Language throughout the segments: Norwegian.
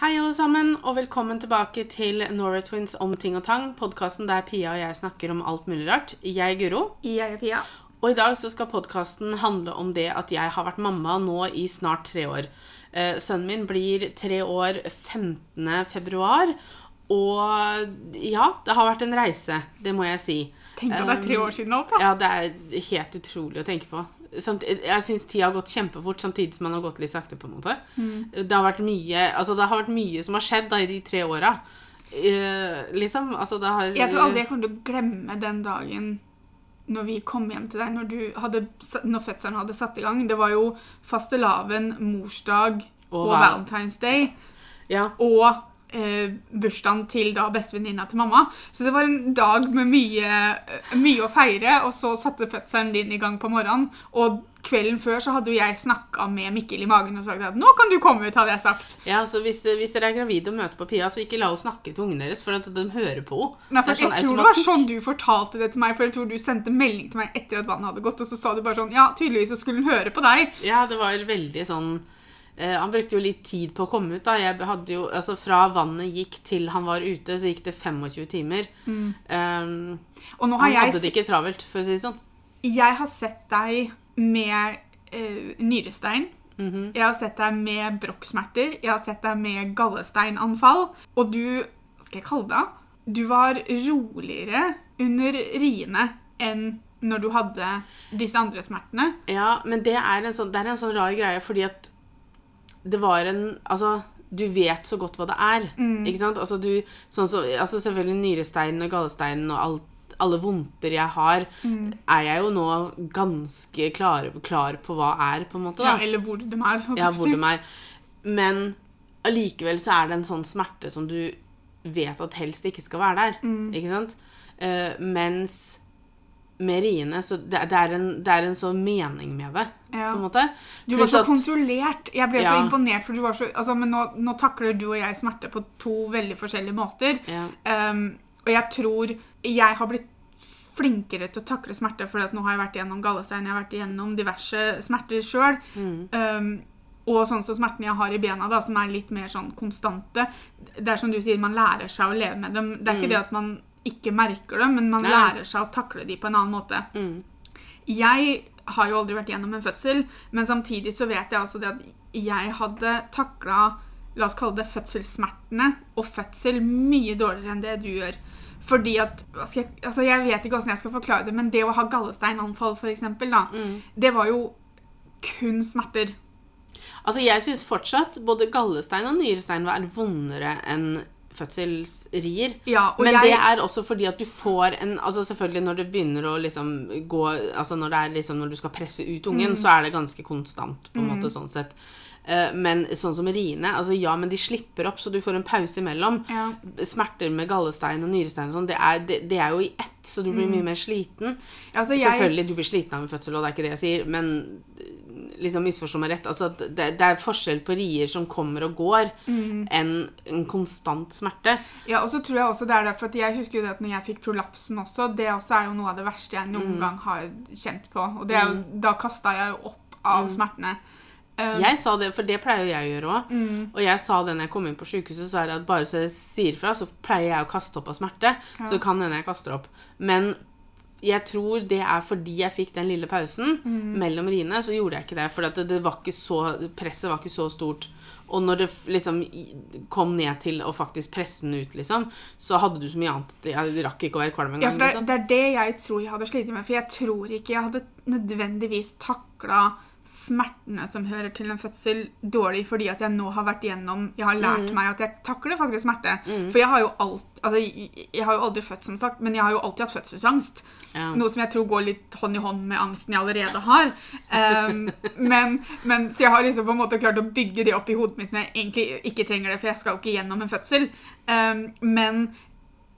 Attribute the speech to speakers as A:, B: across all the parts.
A: Hei, alle sammen, og velkommen tilbake til Nora Twins om ting og tang. Podkasten der Pia og jeg snakker om alt mulig rart. Jeg er Guro,
B: Jeg er Pia.
A: og i dag så skal podkasten handle om det at jeg har vært mamma nå i snart tre år. Eh, Sønnen min blir tre år 15. februar, og ja, det har vært en reise. Det må jeg si.
B: Tenk at det er tre år siden alt, da.
A: Um, Ja, det er helt utrolig å tenke på. Samt, jeg syns tida har gått kjempefort, samtidig som man har gått litt sakte. på en måte.
B: Mm.
A: Det, har vært mye, altså, det har vært mye som har skjedd da, i de tre åra. Eh, liksom, altså det har
B: Jeg tror aldri jeg kommer til å glemme den dagen når vi kom hjem til deg, når, du hadde, sa- når fetteren hadde satt i gang. Det var jo fastelavn, morsdag og,
A: Og val-
B: Valentine's Day.
A: ja.
B: Og eh, bursdagen til da bestevenninna til mamma. Så det var en dag med mye, eh, mye å feire, og så satte fødselen din i gang på morgenen. Og kvelden før så hadde jo jeg snakka med Mikkel i magen og sagt at 'nå kan du komme ut', hadde jeg sagt.
A: Ja, så hvis, det, hvis dere er gravide og møter på Pia, så ikke la henne snakke til ungene deres, for at de hører på henne.
B: Nei,
A: Det
B: for
A: er sånn
B: jeg tror det var
A: automatikk.
B: sånn du fortalte det til meg, for jeg tror du sendte melding til meg etter at vannet hadde gått, og så sa du bare sånn Ja, tydeligvis så skulle hun høre på deg.
A: Ja, det var veldig sånn eh, Han brukte jo litt tid på å komme ut, da. Jeg hadde jo, altså Fra vannet gikk til han var ute, så gikk det 25 timer.
B: Mm.
A: Eh,
B: Og nå har
A: han
B: jeg,
A: hadde det ikke travelt, for å si det sånn.
B: se- jeg har sett deg med eh, nyrestein.
A: Mhm.
B: Jeg har sett deg med brokksmerter. Jeg har sett deg med gallesteinanfall. Og du hva Skal jeg kalle det? Du var roligere under riene enn når du hadde disse andre smertene.
A: Ja, men det er en sånn, det er en sånn rar greie, fordi at det var en Altså, du vet så godt hva det er. Ikke sant? Altså, du, sånn så, altså selvfølgelig nyresteinen og gallesteinen og alt alle vondter jeg har, er jeg jo nå ganske klar, klar på hva er, på en måte.
B: Ja,
A: Da.
B: eller hvor de er. holdt jeg
A: Ja,
B: på å
A: hvor
B: si.
A: de er. Men allikevel så er det en sånn smerte som du vet at helst ikke skal være der.
B: Mm.
A: Ikke sant? Eh, mens med riene så det, det, er en, det er en sånn mening med det,
B: Ja.
A: på en måte.
B: Du var
A: Pluss
B: så
A: at-
B: kontrollert. Jeg ble så
A: Ja.
B: imponert, for du var så altså, Men nå, nå takler du og jeg smerte på to veldig forskjellige måter.
A: Ja.
B: Um, og jeg tror jeg har blitt flinkere til å takle smerte, for nå har jeg vært igjennom gallestein, jeg har vært igjennom diverse smerter sjøl.
A: Mm.
B: Um, og sånn som smertene jeg har i bena, da, som er litt mer sånn konstante. Det er som du sier, man lærer seg å leve med dem. Det er ikke det at man ikke merker dem, men man
A: Mm. Nei.
B: lærer seg å takle dem på en annen måte.
A: Mm.
B: Jeg har jo aldri vært gjennom en fødsel, men samtidig så vet jeg altså det at jeg hadde takla La oss kalle det fødselssmertene og fødsel mye dårligere enn det du gjør. Fordi at hva skal jeg, altså jeg vet ikke åssen jeg skal forklare det, men det å ha gallesteinanfall, f.eks., da,
A: Mm.
B: det var jo kun smerter.
A: Altså, jeg syns fortsatt både gallestein og nyrestein er vondere enn fødselsrier.
B: Ja, og
A: Men
B: jeg,
A: det er også fordi at du får en Altså selvfølgelig når det begynner å liksom gå Altså når det er liksom når du skal presse ut
B: Mm.
A: ungen, så er det ganske konstant, på en måte, sånn sett. Eh, Men sånn som riene altså Ja, men de slipper opp, så du får en pause imellom.
B: Ja.
A: Smerter med gallestein og nyrestein og sånn, det er, det, det er jo i ett, så du blir mye mer sliten.
B: altså Mm. jeg,
A: Selvfølgelig, du blir sliten av en fødsel, og det er ikke det jeg sier, men eh, liksom misforstå meg rett. Altså, det, det er forskjell på rier som kommer og går,
B: Mm.
A: enn en konstant smerte.
B: ja, og så tror jeg også det er derfor at jeg husker jo det at når jeg fikk prolapsen også, det også er jo noe av det verste jeg noen
A: Mm.
B: gang har kjent på. Og det er jo, da kasta jeg jo opp av smertene. Um,
A: Mm. Jeg sa det, for det pleier jo jeg å gjøre òg.
B: Mm.
A: Og jeg sa det når jeg kom inn på sykehuset, så er det at bare så jeg sier fra, så pleier jeg å kaste opp av smerte. Så det kan hende jeg kaster opp. Men jeg tror det er fordi jeg fikk den lille pausen
B: Mm.
A: mellom riene, så gjorde jeg ikke det. For at det, det var ikke så, presset var ikke så stort. Og når det f- liksom i- kom ned til å faktisk presse den ut, liksom, så hadde du så mye annet at jeg rakk ikke å være kvalm
B: Ja, for
A: engang.
B: det,
A: Liksom.
B: det er det jeg tror jeg hadde slitt med. For jeg tror ikke jeg hadde nødvendigvis takla smertene som hører til en fødsel, dårlig fordi at jeg nå har vært igjennom Jeg har lært
A: Mm.
B: meg at jeg takler faktisk smerte. For jeg har jo alt Altså, jeg, jeg har jo aldri født, som sagt, men jeg har jo alltid hatt fødselsangst.
A: Ja.
B: Noe som jeg tror går litt hånd i hånd med angsten jeg allerede har. Ehm, men, men, så jeg har liksom på en måte klart å bygge det opp i hodet mitt når jeg egentlig ikke trenger det, for jeg skal jo ikke gjennom en fødsel. Ehm, men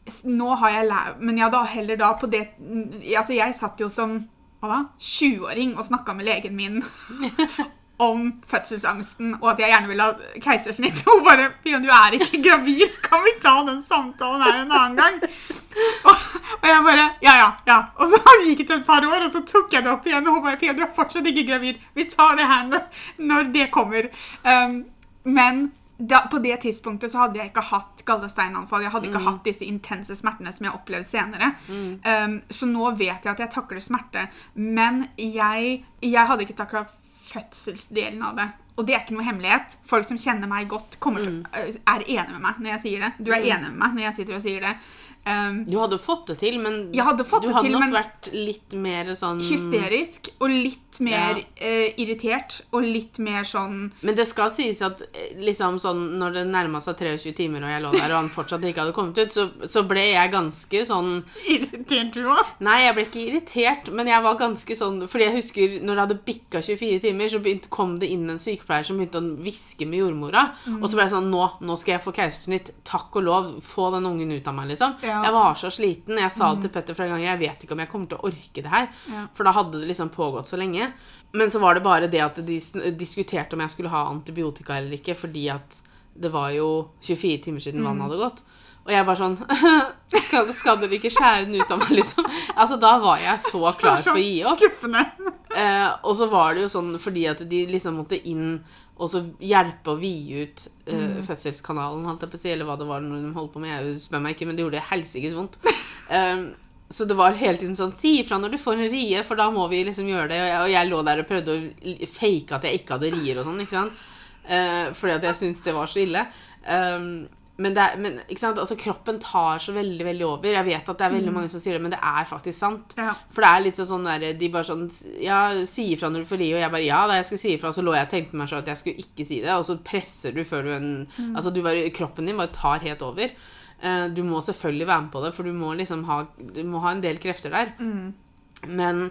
B: s- nå har jeg lært Men jeg da heller da på det n- Altså, jeg satt jo som hva da, 20-åring og snakka med legen min om fødselsangsten, og at jeg gjerne ville ha keisersnitt. Og hun bare 'Pia, du er ikke gravid. Kan vi ta den samtalen her en annen gang?' Og, og jeg bare Ja, ja, ja. Og så gikk det et par år, og så tok jeg det opp igjen. Og hun bare Pia, du er fortsatt ikke gravid. Vi tar det her når, når det kommer. Um, men da, på det tidspunktet så hadde jeg ikke hatt gallesteinanfall. Jeg hadde ikke hatt disse intense smertene som jeg opplevde senere. Um, så nå vet jeg at jeg takler smerte, men jeg, jeg hadde ikke takla fødselsdelen av det. Og det er ikke noe hemmelighet. Folk som kjenner meg godt, kommer til, er enig med meg når jeg sier det. Du er enig med meg når jeg sitter og sier det. Um,
A: Du hadde fått det til, men
B: Jeg hadde fått
A: du
B: det
A: hadde
B: til,
A: nok
B: men-
A: vært litt mer sånn
B: hysterisk og litt mer
A: Ja.
B: eh, irritert og litt mer sånn
A: Men det skal sies at eh, liksom sånn, når det nærma seg 23 timer, og jeg lå der, og han fortsatt ikke hadde kommet ut, så, så ble jeg ganske sånn
B: Irritert du òg?
A: Nei, jeg ble ikke irritert, men jeg var ganske sånn Fordi jeg husker når det hadde bikka 24 timer, så begynte, kom det inn en sykepleier som begynte å hviske med jordmora. Og så ble jeg sånn Nå nå skal jeg få keisersnitt. Takk og lov. Få den ungen ut av meg, liksom.
B: Ja.
A: Jeg var så sliten. Jeg sa det til Petter flere ganger. Jeg vet ikke om jeg kommer til å orke det her.
B: Ja.
A: For da hadde det liksom pågått så lenge. Men så var det bare det at de sn- diskuterte om jeg skulle ha antibiotika eller ikke, fordi at det var jo 24 timer siden vannet hadde gått. Og jeg bare sånn skal, skal dere ikke skjære den ut av meg, liksom? Altså, da var jeg så klar
B: sånn
A: for å gi opp.
B: Skuffende.
A: Eh, og så var det jo sånn fordi at de liksom måtte inn og så hjelpe å vide ut eh, fødselskanalen, holdt jeg på å si, eller hva det var når de holdt på med. Jeg spør meg ikke, men det gjorde helsikes vondt. Eh, så det var hele tiden sånn Si ifra når du får en rie, for da må vi liksom gjøre det. Og jeg, og jeg lå der og prøvde å fake at jeg ikke hadde rier og sånn, ikke sant. Eh, fordi at jeg syntes det var så ille. Um, men, det er, men ikke sant? Altså, kroppen tar så veldig veldig over. Jeg vet at det er veldig mange som sier det, men det er faktisk sant.
B: Ja.
A: For det er litt sånn sånn der, de bare sånn Ja, si ifra når du får li, og jeg bare Ja da, jeg skal si ifra. Så lå jeg og tenkte meg sånn at jeg skulle ikke si det, og så presser du før du en Altså, du bare Kroppen din bare tar helt over. Eh, du må selvfølgelig være med på det, for du må liksom ha Du må ha en del krefter der.
B: Mm.
A: Men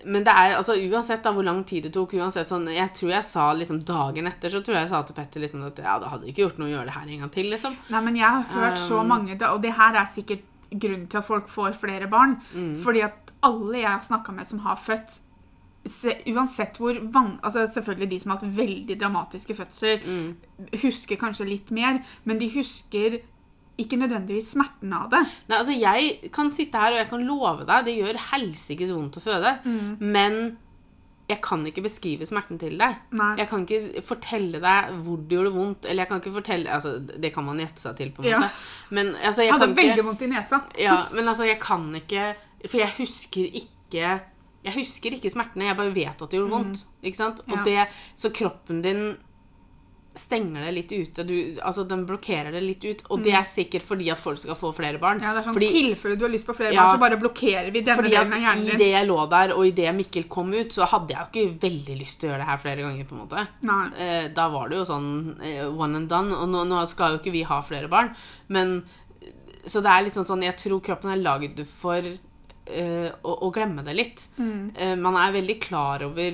A: men det er, altså uansett da hvor lang tid det tok uansett sånn, Jeg tror jeg sa liksom dagen etter Så tror jeg jeg sa til Petter liksom at Ja, det hadde ikke gjort noe å gjøre det her en gang til liksom
B: Nei, men jeg har hørt så
A: Um.
B: mange, da- og det her er sikkert grunnen til at folk får flere barn.
A: Mm.
B: Fordi at alle jeg har snakka med som har født se, Uansett hvor van... Altså selvfølgelig de som har hatt veldig dramatiske fødsler, husker kanskje litt mer, men de husker ikke nødvendigvis smerten av det.
A: Nei, altså jeg kan sitte her og jeg kan love deg Det gjør helsikes vondt å føde
B: Mm.
A: Men jeg kan ikke beskrive smerten til deg
B: Nei.
A: Jeg kan ikke fortelle deg hvor det gjorde vondt Eller jeg kan ikke fortelle Altså, det kan man gjette seg til på en
B: Ja.
A: måte Men altså,
B: Jeg
A: jeg
B: hadde
A: kan ikke
B: veldig vondt i nesa.
A: Ja, men altså, jeg kan ikke For jeg husker ikke Jeg husker ikke smertene, jeg bare vet at det
B: Mm.
A: gjorde vondt. Ikke sant? Og det, så kroppen din stenger det litt ute. Du, altså, den blokkerer det litt ut. Og det er sikkert fordi at folk skal få flere barn.
B: Mm. Ja, det er sånn
A: fordi,
B: tilfelle du har lyst på flere
A: Ja.
B: barn, så bare blokkerer vi denne
A: fordi
B: delen av
A: at
B: hjernen
A: i
B: din.
A: det jeg lå der, og i det Mikkel kom ut, så hadde jeg jo ikke veldig lyst til å gjøre det her flere ganger. på en måte.
B: Nei.
A: Eh, da var det jo sånn eh, one and done. Og nå, nå skal jo ikke vi ha flere barn, men Så det er litt sånn sånn Jeg tror kroppen er lagd for eh, å, å glemme det litt. Eh, man er veldig klar over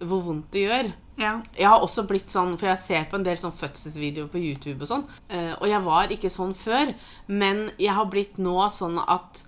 A: hvor vondt det gjør.
B: Ja.
A: Jeg har også blitt sånn, for jeg ser på en del sånn fødselsvideoer på YouTube og sånn, eh, og jeg var ikke sånn før, men jeg har blitt nå sånn at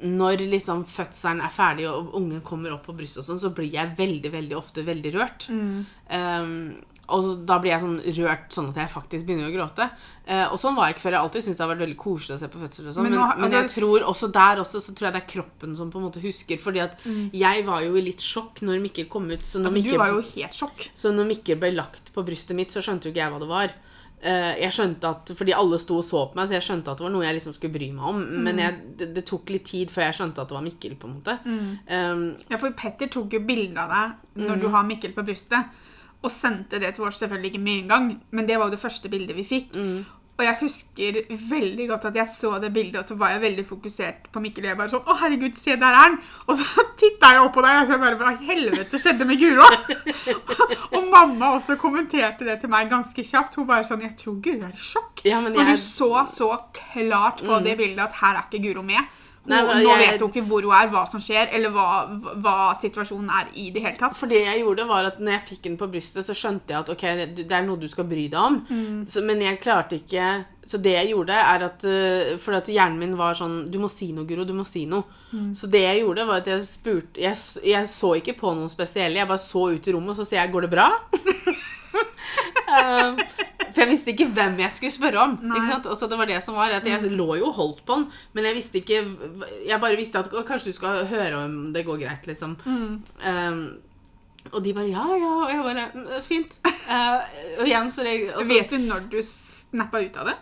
A: når liksom fødselen er ferdig og ungen kommer opp på brystet og sånn, så blir jeg veldig, veldig ofte veldig rørt.
B: Mm.
A: Eh, og så- da blir jeg sånn rørt sånn at jeg faktisk begynner å gråte. Eh, og sånn var jeg ikke før. Jeg har alltid syntes det har vært veldig koselig å se på fødsel og sånn,
B: Men
A: men,
B: nå har-
A: men jeg
B: altså-
A: tror også der også, så tror jeg det er kroppen som på en måte husker, fordi at jeg var jo i litt sjokk når Mikkel kom ut, så når
B: Mm. Altså,
A: Mikkel...
B: du var jo helt sjokk.
A: Så når Mikkel ble lagt på brystet mitt, så skjønte jo ikke jeg hva det var. Eh, jeg skjønte at, Fordi alle sto og så på meg, så jeg skjønte at det var noe jeg liksom skulle bry meg om. Men jeg, det, det tok litt tid før jeg skjønte at det var Mikkel. på en måte. Eh,
B: Ja, for Petter tok jo bilder av deg når
A: Mhm.
B: du har Mikkel på brystet, og sendte det til oss selvfølgelig ikke med en gang, men det var jo det første bildet vi fikk.
A: Mhm.
B: Og jeg husker veldig godt at jeg så det bildet, og så var jeg veldig fokusert på Mikkel. Og jeg bare sånn Å, herregud, se, der er han! Og så titta jeg opp på deg, og så bare Hva i helvete skjedde med Guro? og mamma også kommenterte det til meg ganske kjapt. Hun bare sånn Jeg tror Guro er i sjokk.
A: Ja, men
B: For
A: jeg- Mhm.
B: du så så klart på det bildet at her er ikke Guro med. Hun,
A: Nei, men
B: nå
A: jeg-
B: vet hun ikke hvor hun er, hva som skjer, eller hva, hva situasjonen er i det hele tatt.
A: for det jeg gjorde, var at når jeg fikk den på brystet, så skjønte jeg at ok, det det er noe du skal bry deg om. Så, men jeg klarte ikke Så det jeg gjorde, er at eh, Fordi at hjernen min var sånn Du må si noe, Guro. Du må si noe. Så det jeg gjorde, var at jeg spurte jeg, s- jeg så ikke på noen spesielle. Jeg bare så ut i rommet, og så sier jeg 'Går det bra?' Eh, For jeg visste ikke hvem jeg skulle spørre om.
B: Nei.
A: Ikke sant? Og så det var det som var, at Jeg lå jo og holdt på den, men jeg visste ikke Jeg bare visste at «Å, kanskje du skal høre om det går greit, liksom. Eh, Og de bare ja, ja. Og jeg bare «Mm, fint. Eh, og igjen så reg- og så-
B: Vet du når du snappa ut av det?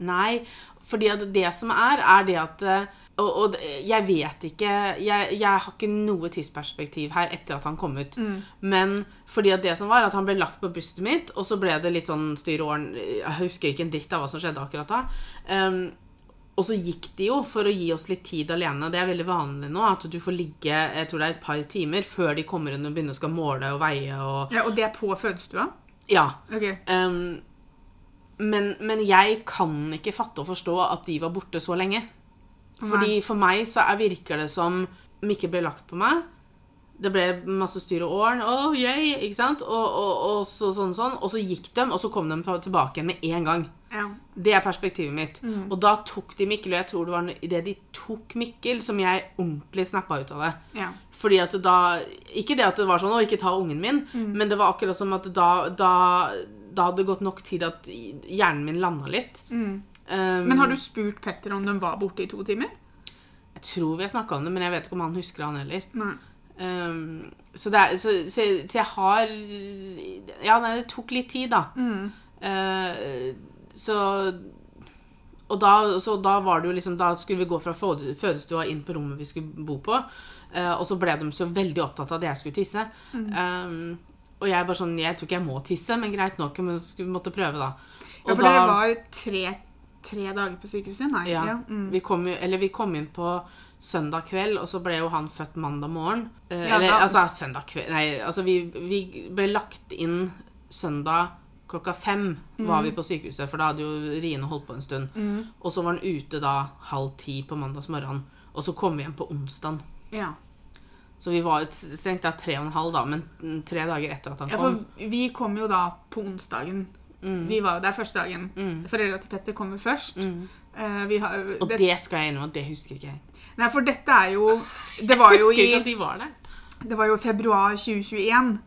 A: Nei, fordi at det som er, er det at eh, Og, og det- jeg vet ikke jeg, jeg har ikke noe tidsperspektiv her etter at han kom ut. Men fordi at det som var, at han ble lagt på brystet mitt, og så ble det litt sånn styr og orden Jeg husker ikke en dritt av hva som skjedde akkurat da. Ehm, og så gikk de jo for å gi oss litt tid alene. og Det er veldig vanlig nå at du får ligge jeg tror det er et par timer før de kommer inn og begynner å skal måle og veie og
B: Ja, og det er på fødestua?
A: Ja.
B: Ok.
A: Ehm, men, men jeg kan ikke fatte og forstå at de var borte så lenge. Fordi For meg så er, virker det som Mikke ble lagt på meg. Det ble masse styr og åren. Oh, yay, ikke sant? Og, og, og så, sånn, sånn. Og så gikk de, og så kom de på- tilbake igjen med en gang.
B: Ja.
A: Det er perspektivet mitt. Og da tok de Mikkel, og jeg tror det var idet de tok Mikkel, som jeg ordentlig snappa ut av det.
B: ja.
A: Fordi at da Ikke det at det var sånn 'Å, ikke ta ungen min',
B: Mm.
A: men det var akkurat som at da, da, da hadde det gått nok tid at hjernen min landa litt. Um,
B: Mm. Men har du spurt Petter om de var borte i to timer?
A: Jeg tror vi har snakka om det, men jeg vet ikke om han husker det, han heller.
B: Nei.
A: Um, så, det er, så, så, jeg- så jeg har Ja, nei, det tok litt tid, da.
B: Mm.
A: Eh, så og da, så da var det jo liksom Da skulle vi gå fra føde- fødestua inn på rommet vi skulle bo på. eh, og så ble de så veldig opptatt av at jeg skulle tisse.
B: Mm.
A: Um, og jeg bare sånn Jeg tror ikke jeg må tisse, men greit nok. Men skulle, måtte prøve, da.
B: Ja, for
A: da-
B: dere var tre, tre dager på sykehuset? Nei.
A: ja.
B: Mm.
A: Vi, kom jo, eller vi kom inn på søndag kveld, og så ble jo han født mandag morgen. Eh,
B: Ja,
A: eller
B: da-
A: altså søndag kveld Nei, altså vi, vi ble lagt inn søndag klokka fem var
B: Mm.
A: vi på sykehuset, for da hadde jo Rine holdt på en stund. Og så var han ute da halv ti på mandags morgen, og så kom vi hjem på onsdag.
B: ja.
A: Så vi var et- strengt tatt tre og en halv, da, men mm, tre dager etter at han
B: Ja,
A: kom.
B: for vi kom jo da på onsdagen.
A: Mm.
B: Vi var jo der første dagen. Foreldra til Petter kom jo først. Eh, vi har,
A: Og
B: det,
A: det skal jeg innrømme at det husker ikke jeg.
B: nei, for dette er jo Det var jo
A: Husker ikke at
B: i
A: de var der.
B: det var jo februar 2021.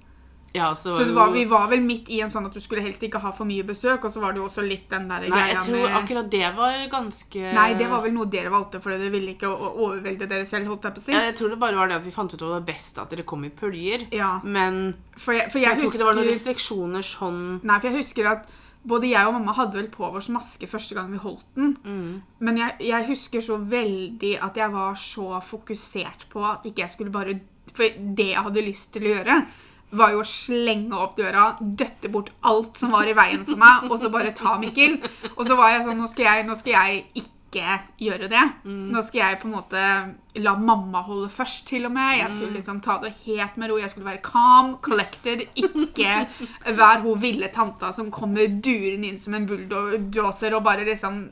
A: Ja, så,
B: Så
A: jo-
B: det var, vi var vel midt i en sånn at du skulle helst ikke ha for mye besøk. Og så var det jo også litt den der
A: Nei, jeg
B: greia
A: tror
B: med
A: akkurat eh, det var ganske
B: Nei, det var vel noe dere valgte fordi dere ville ikke å- å overvelde dere selv, holdt jeg på å si.
A: Ja, jeg tror det bare var det at vi fant ut at det var best at dere kom i pøljer.
B: Ja,
A: Men
B: for jeg, for
A: jeg,
B: jeg,
A: tror ikke det var noen
B: husker
A: restriksjoner sånn
B: Nei, for jeg husker at både jeg og mamma hadde vel på vår maske første gang vi holdt den. Men jeg, jeg husker så veldig at jeg var så fokusert på at ikke jeg skulle bare For det jeg hadde lyst til å gjøre, var jo å slenge opp døra, døtte bort alt som var i veien for meg, og så bare ta Mikkel. Og så var jeg sånn Nå skal jeg, nå skal jeg ikke gjøre det. Nå skal jeg på en måte la mamma holde først, til og med. Jeg skulle liksom ta det helt med ro. Jeg skulle være calm, collected, ikke være hun ville tanta som kommer durende inn som en bulldoser og bare liksom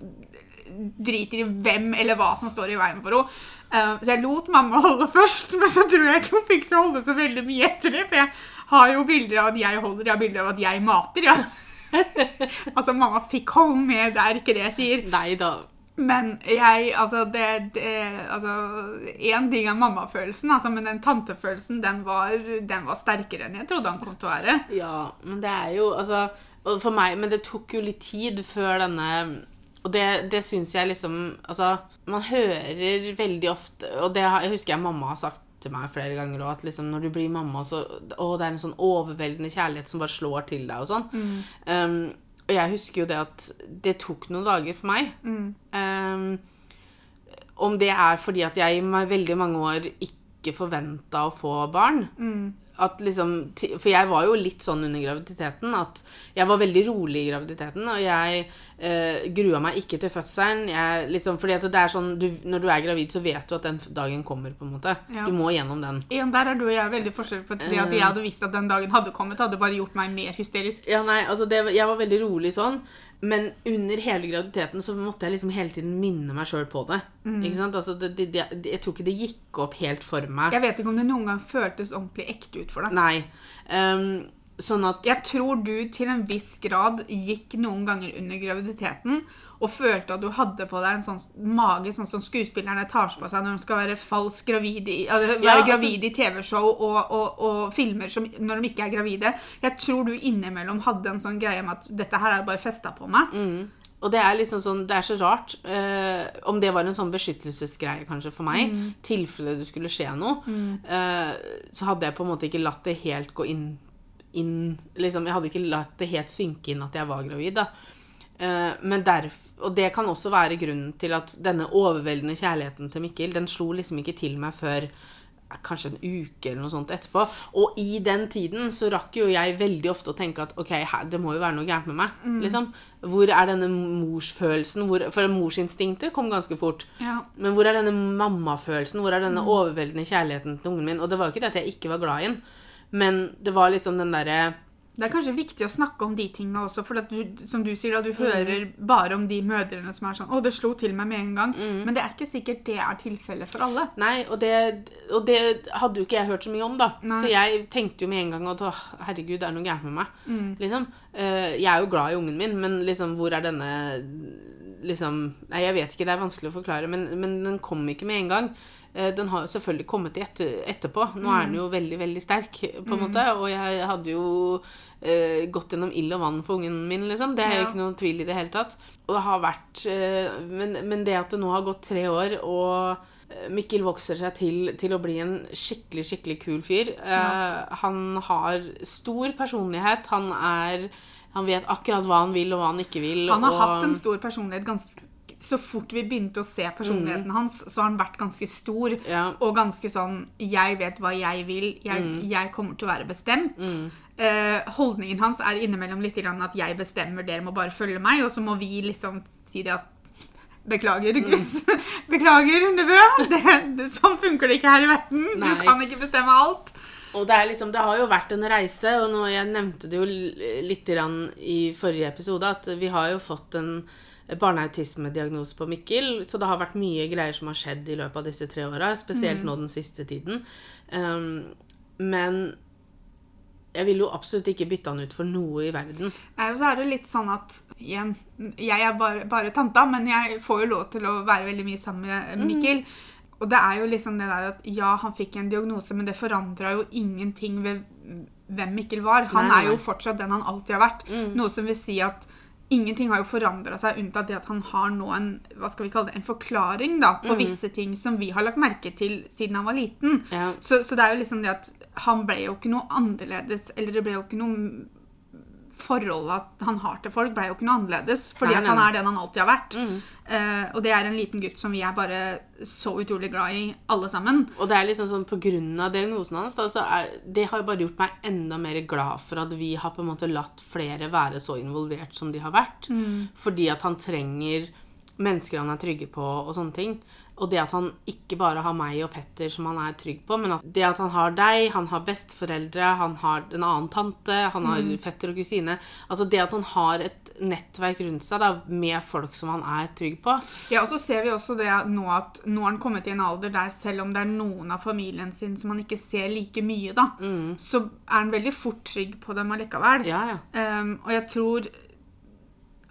B: driter i hvem eller hva som står i veien for henne. Eh, så jeg lot mamma holde først, men så tror jeg ikke hun fikk så holde så veldig mye etter det. For jeg har jo bilder av at jeg holder, jeg har bilder av at jeg mater. Ja. altså, mamma fikk holde med, det er ikke det jeg sier.
A: Nei da.
B: Men jeg, altså det, det altså, En ting er mammafølelsen, altså, men den tantefølelsen den var, den var sterkere enn jeg trodde han kom til å være.
A: Ja, men det er jo Altså, og for meg Men det tok jo litt tid før denne og det, det syns jeg liksom Altså, man hører veldig ofte Og det har- jeg husker jeg mamma har sagt til meg flere ganger også, at liksom når du blir mamma, så Å, det er en sånn overveldende kjærlighet som bare slår til deg og sånn. Um, og jeg husker jo det at det tok noen dager for meg. Um, om det er fordi at jeg i ma- veldig mange år ikke forventa å få barn. At liksom, ti- for jeg var jo litt sånn under graviditeten at jeg var veldig rolig i graviditeten. Og jeg eh, grua meg ikke til fødselen. Jeg, liksom, fordi at det er sånn, du, når du er gravid, så vet du at den f- dagen kommer. på en måte.
B: Ja.
A: Du må gjennom den.
B: Igjen, der er du og jeg veldig forskjellig, for det at jeg hadde visst at den dagen hadde kommet, hadde bare gjort meg mer hysterisk.
A: Ja, nei, altså det, Jeg var veldig rolig sånn, men under hele graviditeten så måtte jeg liksom hele tiden minne meg sjøl på det. Ikke sant? Altså det, det, det, Jeg tror ikke det gikk opp helt for meg.
B: Jeg vet ikke om det noen gang føltes ordentlig ekte ut for deg.
A: Nei. Ehm, sånn at
B: Jeg tror du til en viss grad gikk noen ganger under graviditeten og følte at du hadde på deg en sånn mage, sånn som skuespillerne tar på seg når de skal være falsk gravid i, eller være
A: Ja, altså-
B: gravid i TV-show og, og, og filmer som, når de ikke
A: Mm.
B: er gravide. Jeg tror du innimellom hadde en sånn greie med at dette her er bare festa på meg.
A: Og det er liksom sånn, det er så rart eh, om det var en sånn beskyttelsesgreie kanskje for meg. I tilfelle det skulle skje noe, eh, så hadde jeg på en måte ikke latt det helt gå inn, inn liksom, Jeg hadde ikke latt det helt synke inn at jeg var gravid. da. Eh, men derf, og det kan også være grunnen til at denne overveldende kjærligheten til Mikkel, den slo liksom ikke til meg før eh, kanskje en uke eller noe sånt etterpå. Og i den tiden så rakk jo jeg veldig ofte å tenke at ok, her, det må jo være noe gærent med meg. liksom. Hvor er denne morsfølelsen? Hvor, for morsinstinktet kom ganske fort.
B: Ja.
A: Men hvor er denne mammafølelsen? Hvor er denne overveldende kjærligheten til ungen min? Og det var jo ikke det at jeg ikke var glad i den, men det var liksom den derre
B: Det er kanskje viktig å snakke om de tingene også, for at du, som du sier, da, du hører bare om de mødrene som er sånn 'Å, det slo til meg med en gang', men det er ikke sikkert det er tilfellet for alle.
A: Nei, og det, og det hadde jo ikke jeg hørt så mye om, da.
B: Nei.
A: Så jeg tenkte jo med en gang at åh, herregud, det er noe gærent med meg.
B: Mm.
A: Liksom. Eh, jeg er jo glad i ungen min, men liksom, hvor er denne liksom, Nei, jeg vet ikke, det er vanskelig å forklare, men, men den kom ikke med en gang. Eh, den har jo selvfølgelig kommet i etter, etterpå. Nå er
B: Mm.
A: den jo veldig, veldig sterk, på en måte. Og jeg hadde jo eh, gått gjennom ild og vann for ungen min, liksom. Det er jo
B: Ja.
A: ikke noen tvil i det hele tatt. Og det har vært eh, Men, men det at det nå har gått tre år, og eh, Mikkel vokser seg til, til å bli en skikkelig, skikkelig kul fyr. Eh, Han har stor personlighet. Han er Han vet akkurat hva han vil, og hva han ikke vil.
B: Han har
A: og,
B: hatt en stor personlighet ganske Så fort vi begynte å se personligheten hans, så har han vært ganske stor.
A: ja,
B: Og ganske sånn 'jeg vet hva jeg vil, jeg, jeg kommer til å være bestemt'. Eh, holdningen hans er innimellom litt grann at 'jeg bestemmer, dere må bare følge meg', og så må vi liksom si det at Beklager, Gus. Beklager, nevø. Det, det, sånn funker det ikke her i verden.
A: Nei.
B: Du kan ikke bestemme alt.
A: Og det, er liksom, det har jo vært en reise, og nå, jeg nevnte det jo l- litt grann i forrige episode, at vi har jo fått en barneautismediagnose på Mikkel, så det har vært mye greier som har skjedd i løpet av disse tre åra, spesielt nå den siste tiden. Um, men jeg ville jo absolutt ikke bytte han ut for noe i verden.
B: Nei, og så er det litt sånn at igjen, jeg er bare, bare tanta, men jeg får jo lov til å være veldig mye sammen
A: Mm.
B: med eh, Mikkel. Og det er jo liksom det der at ja, han fikk en diagnose, men det forandra jo ingenting ved hvem Mikkel var.
A: Nei,
B: Han er
A: nei. Mm.
B: jo fortsatt den han alltid har vært. Noe som vil si at ingenting har jo forandra seg, unntatt det at han har nå en hva skal vi kalle det, en forklaring da,
A: Mm.
B: på visse ting som vi har lagt merke til siden han var liten.
A: Ja.
B: Så, så det er jo liksom det at han ble jo ikke noe annerledes, eller det ble jo ikke noe Forholdet han har til folk, ble jo ikke noe annerledes. Fordi
A: Nei,
B: at
A: nei,
B: han
A: nei. Mm.
B: er den han alltid har vært. Eh, og det er en liten gutt som vi er bare så utrolig glad i, alle sammen.
A: Og det er liksom sånn på grunn av diagnosen hans, da, så er, det har jo bare gjort meg enda mer glad for at vi har på en måte latt flere være så involvert som de har vært. Fordi at han trenger mennesker han er trygge på og sånne ting. Og det at han ikke bare har meg og Petter som han er trygg på, men at det at han har deg, han har besteforeldre, han har en annen tante, han har fetter og kusine Altså det at han har et nettverk rundt seg da, med folk som han er trygg på.
B: Ja, og så ser vi også det nå at nå har han kommet i en alder der selv om det er noen av familien sin som han ikke ser like mye, da,
A: Mm.
B: så er han veldig fort trygg på dem allikevel.
A: Ja, ja.
B: Ehm, og jeg tror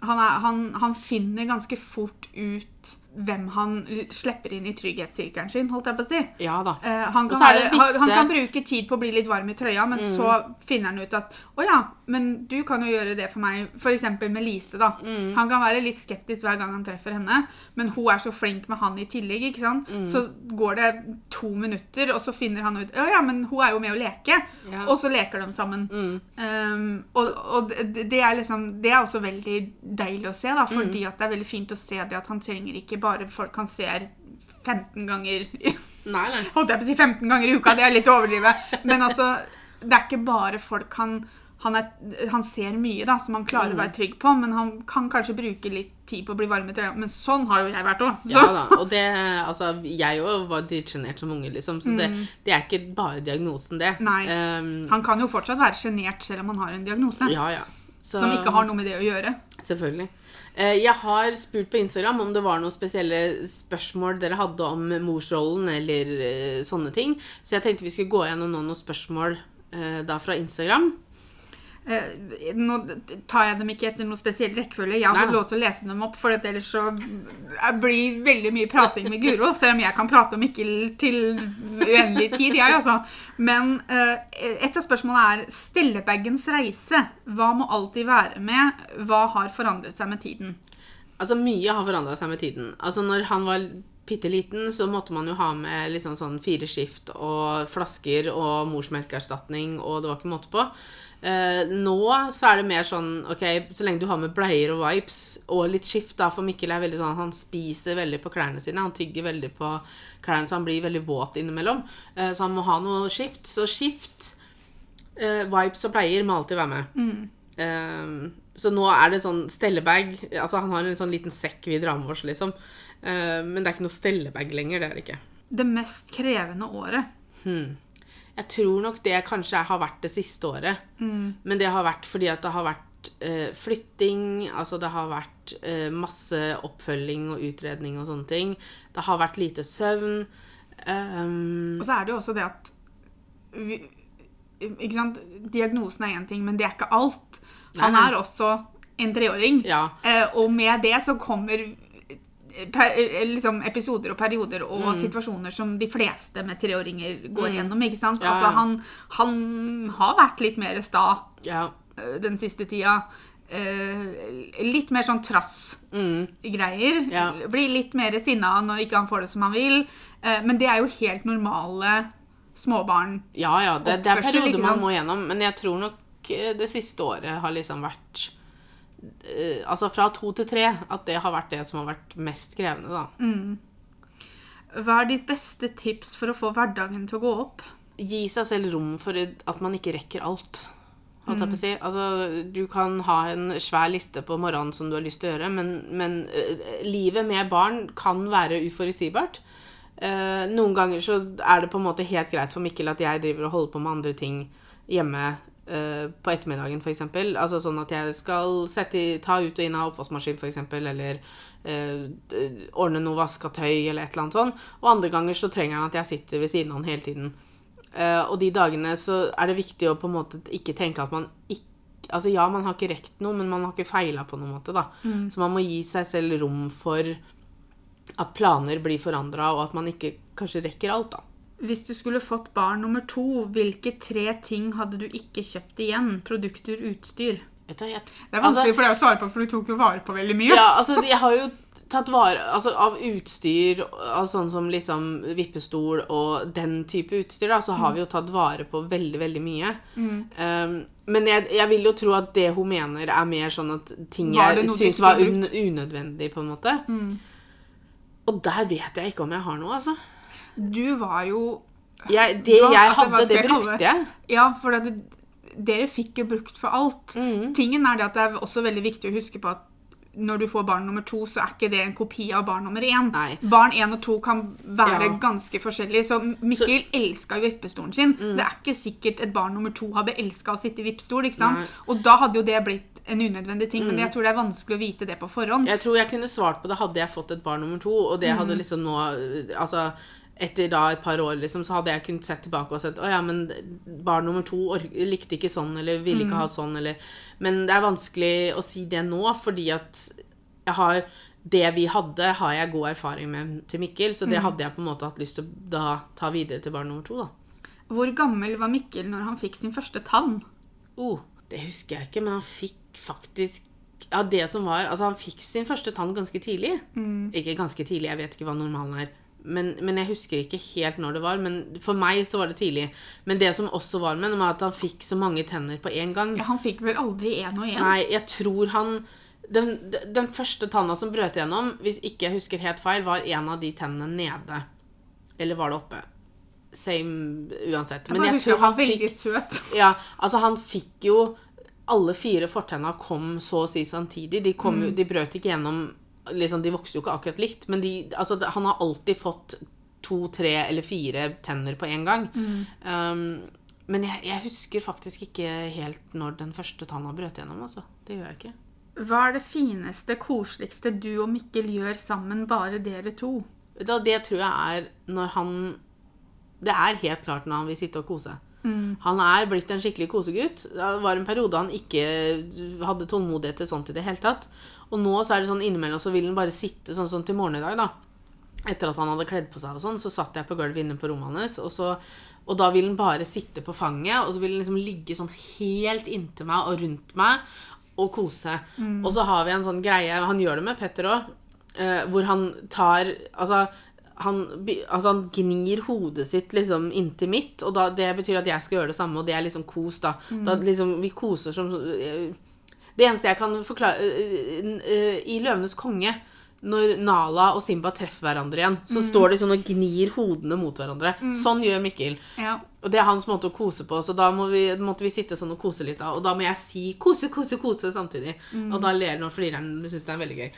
B: han, er, han, han finner ganske fort ut hvem han l- slipper inn i trygghetssirkelen sin, holdt jeg på å si.
A: Ja da.
B: Eh, han,
A: Og
B: kan
A: så er det
B: være, han, han
A: visse- Mm.
B: kan bruke tid på å bli litt varm i trøya, men så finner han ut at å ja, men du kan jo gjøre det for meg, f.eks. med Lise. da.
A: Mm.
B: Han kan være litt skeptisk hver gang han treffer henne, men hun er så flink med han i tillegg. ikke sant?
A: Mm.
B: Så går det to minutter, og så finner han ut å ja, men hun er jo med å leke.
A: Ja. Mm.
B: Og så leker de sammen. Um, og og det, det, er liksom, det er også veldig deilig å se, da,
A: Mm.
B: fordi at det er veldig fint å se det at han trenger ikke bare folk han ser 15 ganger
A: Nei, nei.
B: holdt jeg på å si 15 ganger i uka, det er litt å overdrive. Men altså, det er ikke bare folk han, han, er, han ser mye da, som han klarer å være trygg på, men han kan kanskje bruke litt tid på å bli varm i trøya. Men sånn har jo jeg vært òg.
A: Ja da. Og det Altså, jeg òg var dritsjenert som unge, liksom. Så det, det er ikke bare diagnosen, det.
B: Mm. Nei.
A: Ehm,
B: Han kan jo fortsatt være sjenert selv om han har en diagnose
A: ja, ja. Så-
B: som ikke har noe med det å gjøre.
A: Selvfølgelig. Eh, Jeg har spurt på Instagram om det var noen spesielle spørsmål dere hadde om morsrollen eller eh, sånne ting. Så jeg tenkte vi skulle gå gjennom nå noen spørsmål eh, da fra Instagram.
B: Eh, Nå tar jeg dem ikke etter noe spesiell rekkefølge. Jeg har
A: Nei.
B: fått lov til å lese dem opp, for at ellers så eh, blir veldig mye prating med Guro. Selv om jeg kan prate om Mikkel til uendelig tid, jeg, altså. Men eh, et av spørsmålene er stellebagens reise. Hva må alltid være med? Hva har forandret seg med tiden?
A: Altså, mye har forandra seg med tiden. Altså, når han var bitte liten, så måtte man jo ha med liksom sånn fire skift og flasker og morsmelkerstatning, og det var ikke måte på. Eh, nå så er det mer sånn ok, så lenge du har med bleier og wipes og litt skift, da, for Mikkel er veldig sånn han spiser veldig på klærne sine. Han tygger veldig på klærne, så han blir veldig våt innimellom. Eh, så han må ha noe skift. Så skift, eh, wipes og bleier må alltid være med. Eh, så nå er det sånn stellebag. Altså han har en sånn liten sekk vi drar med oss, liksom. Eh, men det er ikke noe stellebag lenger, det er det ikke.
B: Det mest krevende året.
A: Jeg tror nok det kanskje har vært det siste året. Men det har vært fordi at det har vært eh, flytting, altså det har vært eh, masse oppfølging og utredning og sånne ting. Det har vært lite søvn. Ehm,
B: Og så er det jo også det at vi, Ikke sant, diagnosen er én ting, men det er ikke alt.
A: Nei,
B: Han
A: nei.
B: er også en treåring.
A: ja.
B: Eh, og med det så kommer eh, per, eh, liksom episoder og perioder og
A: Mm.
B: situasjoner som de fleste med treåringer går gjennom. ikke sant?
A: Ja, ja.
B: Altså, han, han har vært litt mer sta
A: ja.
B: eh, den siste tida. Eh, litt mer sånn trass-greier.
A: Mm, Ja.
B: Blir litt mer sinna når ikke han får det som han vil. Eh, men det er jo helt normale småbarn.
A: ja, ja. Det, det er
B: Oppførsel, ikke
A: perioder man
B: sant?
A: må gjennom. Men jeg tror nok eh, det siste året har liksom vært eh, Altså fra to til tre. At det har vært det som har vært mest krevende, da.
B: Hva er ditt beste tips for å få hverdagen til å gå opp?
A: gi seg selv rom for at man ikke rekker alt. Holdt jeg på å si. Altså, du kan ha en svær liste på morgenen som du har lyst til å gjøre, men, men øh, livet med barn kan være uforutsigbart. Eh, noen ganger så er det på en måte helt greit for Mikkel at jeg driver og holder på med andre ting hjemme eh, på ettermiddagen, f.eks. Altså sånn at jeg skal sette, i- ta ut og inn av oppvaskmaskin, f.eks., eller eh, d- ordne noe vaska tøy, eller et eller annet sånt. Og andre ganger så trenger han at jeg sitter ved siden av han hele tiden. Eh, og de dagene så er det viktig å på en måte ikke tenke at man ikke Altså ja, man har ikke rekt noe, men man har ikke feila på noen måte, da. Så man må gi seg selv rom for at planer blir forandra, og at man ikke kanskje rekker alt, da.
B: Hvis du skulle fått barn nummer to, hvilke tre ting hadde du ikke kjøpt igjen? Produkter, utstyr?
A: Vet du, hva, jeg,
B: Det er
A: altså-
B: vanskelig for deg å svare på, for du tok jo vare på veldig mye.
A: Ja, altså, jeg har jo tatt vare altså, av utstyr, av sånn som liksom vippestol og den type utstyr, da, så
B: Mm.
A: har vi jo tatt vare på veldig, veldig mye. Um, men jeg, jeg vil jo tro at det hun mener er mer sånn at ting
B: Var det
A: jeg
B: noe du
A: syns
B: ikke
A: var
B: har
A: un unødvendig, på en måte.
B: Mm.
A: Og der vet jeg ikke om jeg har noe, altså.
B: Du var jo
A: Jeg, det
B: Du har-
A: jeg
B: altså, hva
A: hadde,
B: skal
A: det
B: jeg kalle det?
A: brukte jeg.
B: Ja, for det, dere fikk jo brukt for alt.
A: Mm.
B: Tingen er det at det er også veldig viktig å huske på at når du får barn nummer to, så er ikke det en kopi av barn nummer én.
A: Nei.
B: Barn én og to kan være
A: Ja.
B: ganske forskjellige. Så Mikkel elska jo vippestolen sin.
A: Mm.
B: Det er ikke sikkert et barn nummer to hadde elska å sitte i vippestol. ikke sant?
A: Nei. Mm.
B: Og da hadde jo det blitt en unødvendig ting, men jeg tror det er vanskelig å vite det på forhånd.
A: Jeg tror jeg kunne svart på det hadde jeg fått et barn nummer to, og det hadde liksom nå Altså, etter da et par år, liksom, så hadde jeg kunnet sett tilbake og sett Å ja, men barn nummer to ork likte ikke sånn, eller ville ikke ha sånn, eller Men det er vanskelig å si det nå, fordi at jeg har det vi hadde, har jeg god erfaring med til Mikkel, så det hadde jeg på en måte hatt lyst til å da ta videre til barn nummer to, da.
B: Hvor gammel var Mikkel når han fikk sin første tann?
A: Oh, det husker jeg ikke, men han fikk faktisk ja, det som var, altså Han fikk sin første tann ganske tidlig. Ikke ganske tidlig, jeg vet ikke hva normalen er. Men, men jeg husker ikke helt når det var. Men For meg så var det tidlig. Men det som også var med, var at han fikk så mange tenner på én gang.
B: Ja, han fikk vel aldri én og én?
A: Nei, jeg tror han den, den første tanna som brøt gjennom, hvis ikke jeg husker helt feil, var en av de tennene nede. Eller var det oppe? Same uansett. Men
B: bare
A: jeg
B: husker
A: tror han
B: var
A: fikk
B: veldig søt.
A: ja, altså han fikk jo Alle fire fortenna kom så å si samtidig. De, kom, jo- de brøt ikke gjennom liksom, De vokste jo ikke akkurat likt, men de, altså, det- han har alltid fått to, tre eller fire tenner på én gang. Um, men jeg, jeg husker faktisk ikke helt når den første tanna brøt gjennom. altså. Det gjør jeg ikke.
B: Hva er det fineste, koseligste du og Mikkel gjør sammen, bare dere to?
A: Vet du hva, Det tror jeg er når han Det er helt klart når han vil sitte og kose. Han er blitt en skikkelig kosegutt. Det var en periode han ikke hadde tålmodighet til sånt i det hele tatt. Og nå så er det sånn innimellom så vil han bare sitte sånn som til morgenen i dag, da. Etter at han hadde kledd på seg og sånn, så satt jeg på gulvet inne på rommet hans, og så og da vil han bare sitte på fanget, og så vil han liksom ligge sånn helt inntil meg og rundt meg. og kose. Og så har vi en sånn greie, han gjør det med Petter òg, hvor han tar Altså han, by- altså han gnir hodet sitt liksom inntil mitt, og da, det betyr at jeg skal gjøre det samme, og det er liksom kos, da. da liksom, vi koser som eh, Det eneste jeg kan forklare eh, n- eh, I 'Løvenes konge', når Nala og Simba treffer hverandre igjen, så står de sånn og gnir hodene mot hverandre. Sånn gjør Mikkel.
B: Ja.
A: Og det er hans måte å kose på, så da må vi, måtte vi sitte sånn og kose litt da. Og da må jeg si 'kose, kose, kose' samtidig. Og da ler han og flirer han. Det syns det er veldig gøy.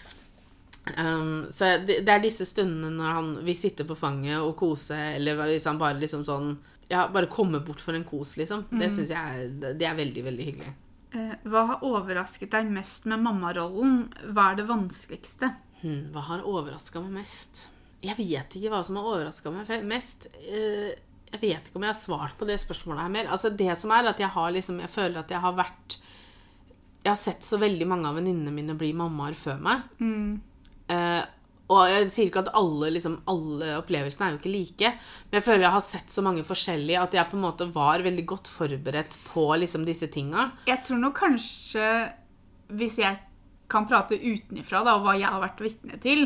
A: Um, så jeg- det, det er disse stundene når han vil sitte på fanget og kose, eller hvis han bare liksom sånn Ja, bare komme bort for en kos, liksom. Det syns jeg er, det- det er veldig, veldig hyggelig.
B: Eh, Hva har overrasket deg mest med mammarollen? Hva er det vanskeligste?
A: Hmm, hva har overraska meg mest? Jeg vet ikke hva som har overraska meg fe- mest. Eh, Jeg vet ikke om jeg har svart på det spørsmålet her mer. Altså det som er at Jeg har liksom, jeg føler at jeg har vært Jeg har sett så veldig mange av venninnene mine bli mammaer før meg. Eh, og jeg sier ikke at alle, liksom, alle opplevelsene er jo ikke like, men jeg føler jeg har sett så mange forskjellige at jeg på en måte var veldig godt forberedt på liksom, disse tinga.
B: Jeg tror nok kanskje, hvis jeg kan prate utenifra da, og hva jeg har vært vitne til,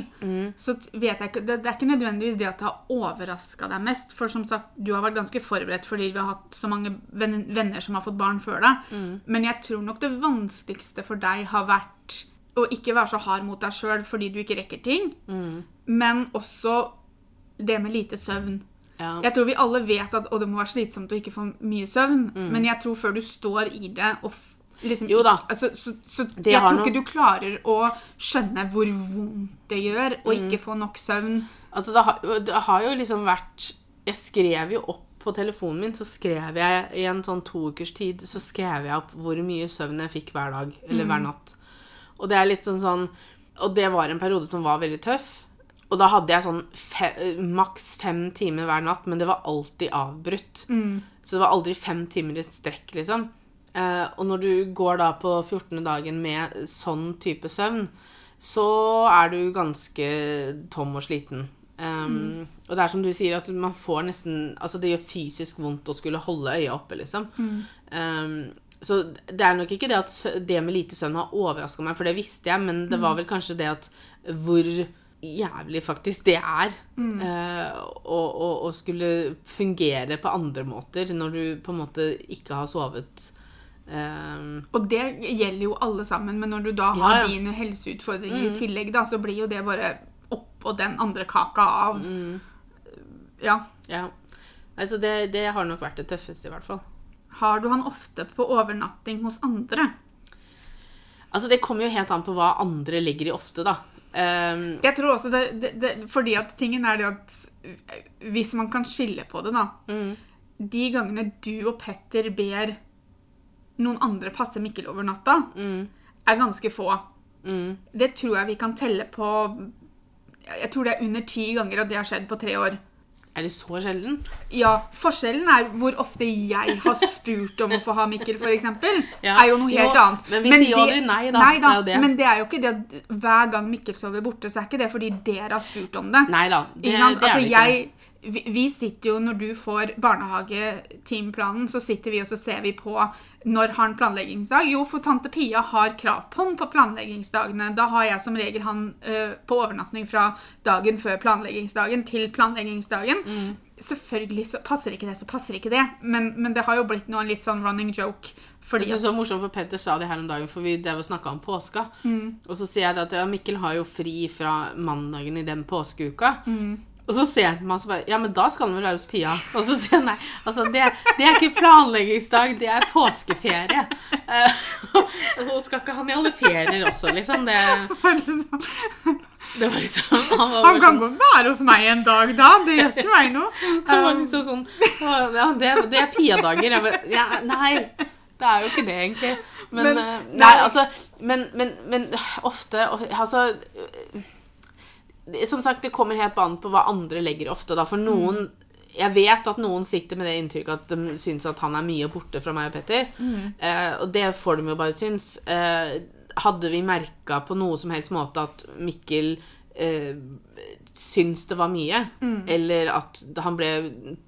B: så t- vet jeg ikke, det, det er ikke nødvendigvis det at det har overraska deg mest. For som sagt, du har vært ganske forberedt fordi vi har hatt så mange venn- venner som har fått barn før deg. Men jeg tror nok det vanskeligste for deg har vært å ikke være så hard mot deg sjøl fordi du ikke rekker ting, men også det med lite søvn.
A: Ja.
B: Jeg tror vi alle vet at å, det må være slitsomt å ikke få mye søvn, men jeg tror før du står i det og f- liksom,
A: Mm. Jo da.
B: Altså, så, så, jeg
A: har
B: tror ikke du klarer å skjønne hvor vondt det gjør
A: Mm.
B: å ikke få nok søvn.
A: Altså, det har, jo- det har jo liksom vært Jeg skrev jo opp på telefonen min, så skrev jeg i en sånn to ukers tid så skrev jeg opp hvor mye søvn jeg fikk hver dag, eller hver natt. Og det er litt sånn sånn Og det var en periode som var veldig tøff. Og da hadde jeg sånn fe, eh, maks fem timer hver natt, men det var alltid avbrutt. Så det var aldri fem timer i strekk, liksom. Eh, og når du går da på 14. dagen med sånn type søvn, så er du ganske tom og sliten. Um, Og det er som du sier, at man får nesten Altså, det gjør fysisk vondt å skulle holde øya oppe, liksom. Um, så det er nok ikke det at sø- det med lite søvn har overraska meg, for det visste jeg, men det var vel kanskje det at hvor jævlig faktisk det er eh, å, å, å skulle fungere på andre måter når du på en måte ikke har sovet. Um,
B: Og det gjelder jo alle sammen, men når du da
A: Ja,
B: har
A: ja. Mm.
B: dine helseutfordringer i tillegg, da, så blir jo det bare oppå den andre kaka av
A: Mm.
B: Ja.
A: ja. Nei, så det, det har nok vært det tøffeste, i hvert fall.
B: Har du han ofte på overnatting hos andre?
A: Altså, det kommer jo helt an på hva andre legger i ofte, da. Ehm,
B: Jeg tror også det, det, det Fordi at tingen er det at eh, Hvis man kan skille på det, da. De gangene du og Petter ber noen andre passe Mikkel over natta, er ganske få.
A: mm,
B: Det tror jeg vi kan telle på Jeg tror det er under ti ganger at det har skjedd på tre år.
A: er det så sjelden?
B: Ja, Forskjellen er hvor ofte jeg har spurt om å få ha Mikkel, f.eks.
A: Ja.
B: Er jo noe helt
A: Jo,
B: annet.
A: men vi sier jo aldri nei, da.
B: Nei, da.
A: Det er jo det.
B: Men det er jo ikke det at hver gang Mikkel sover borte, så er ikke det fordi dere har spurt om det.
A: Nei da. Det,
B: Ikke sant?
A: det er
B: altså,
A: det ikke.
B: jeg, vi, vi sitter jo, når du får barnehagetimeplanen, så sitter vi og så ser vi på når har han planleggingsdag? Jo, for tante Pia har krav på han på planleggingsdagene. Da har jeg som regel han ø, på overnatting fra dagen før planleggingsdagen til planleggingsdagen.
A: Mm.
B: Selvfølgelig så passer ikke det, så passer ikke det. Men, men det har jo blitt noe litt sånn running joke.
A: Jeg
B: Fordi
A: synes det var morsomt, for Petter sa det her om dagen, for vi drev og snakka om påska.
B: Mm.
A: Og så sier jeg det at ja, Mikkel har jo fri fra mandagen i den påskeuka.
B: Mm.
A: Og så ser han på meg og så bare Ja, men da skal han vel være hos Pia? Og så sier han nei. Altså, det, det er ikke planleggingsdag, det er påskeferie. Eh, og skal ikke han i alle ferier også, liksom? Det, det var liksom Han, var
B: Han
A: bare
B: kan godt være hos meg en dag, da. Det gjør ikke meg noe.
A: Det var liksom sånn «Å, Ja, det, det er Pia-dager. Jeg bare ja, Nei, det er jo ikke det, egentlig. Men,
B: Men-
A: eh, nei,
B: nei.
A: altså men, men, men ofte Altså eh, Som sagt, det kommer helt an på hva andre legger ofte, da. For noen jeg vet at noen sitter med det inntrykket at de syns at han er mye borte fra meg og Petter. Eh, og det får de jo bare synes. Eh, hadde vi merka på noe som helst måte at Mikkel eh, syns det var mye, eller at han ble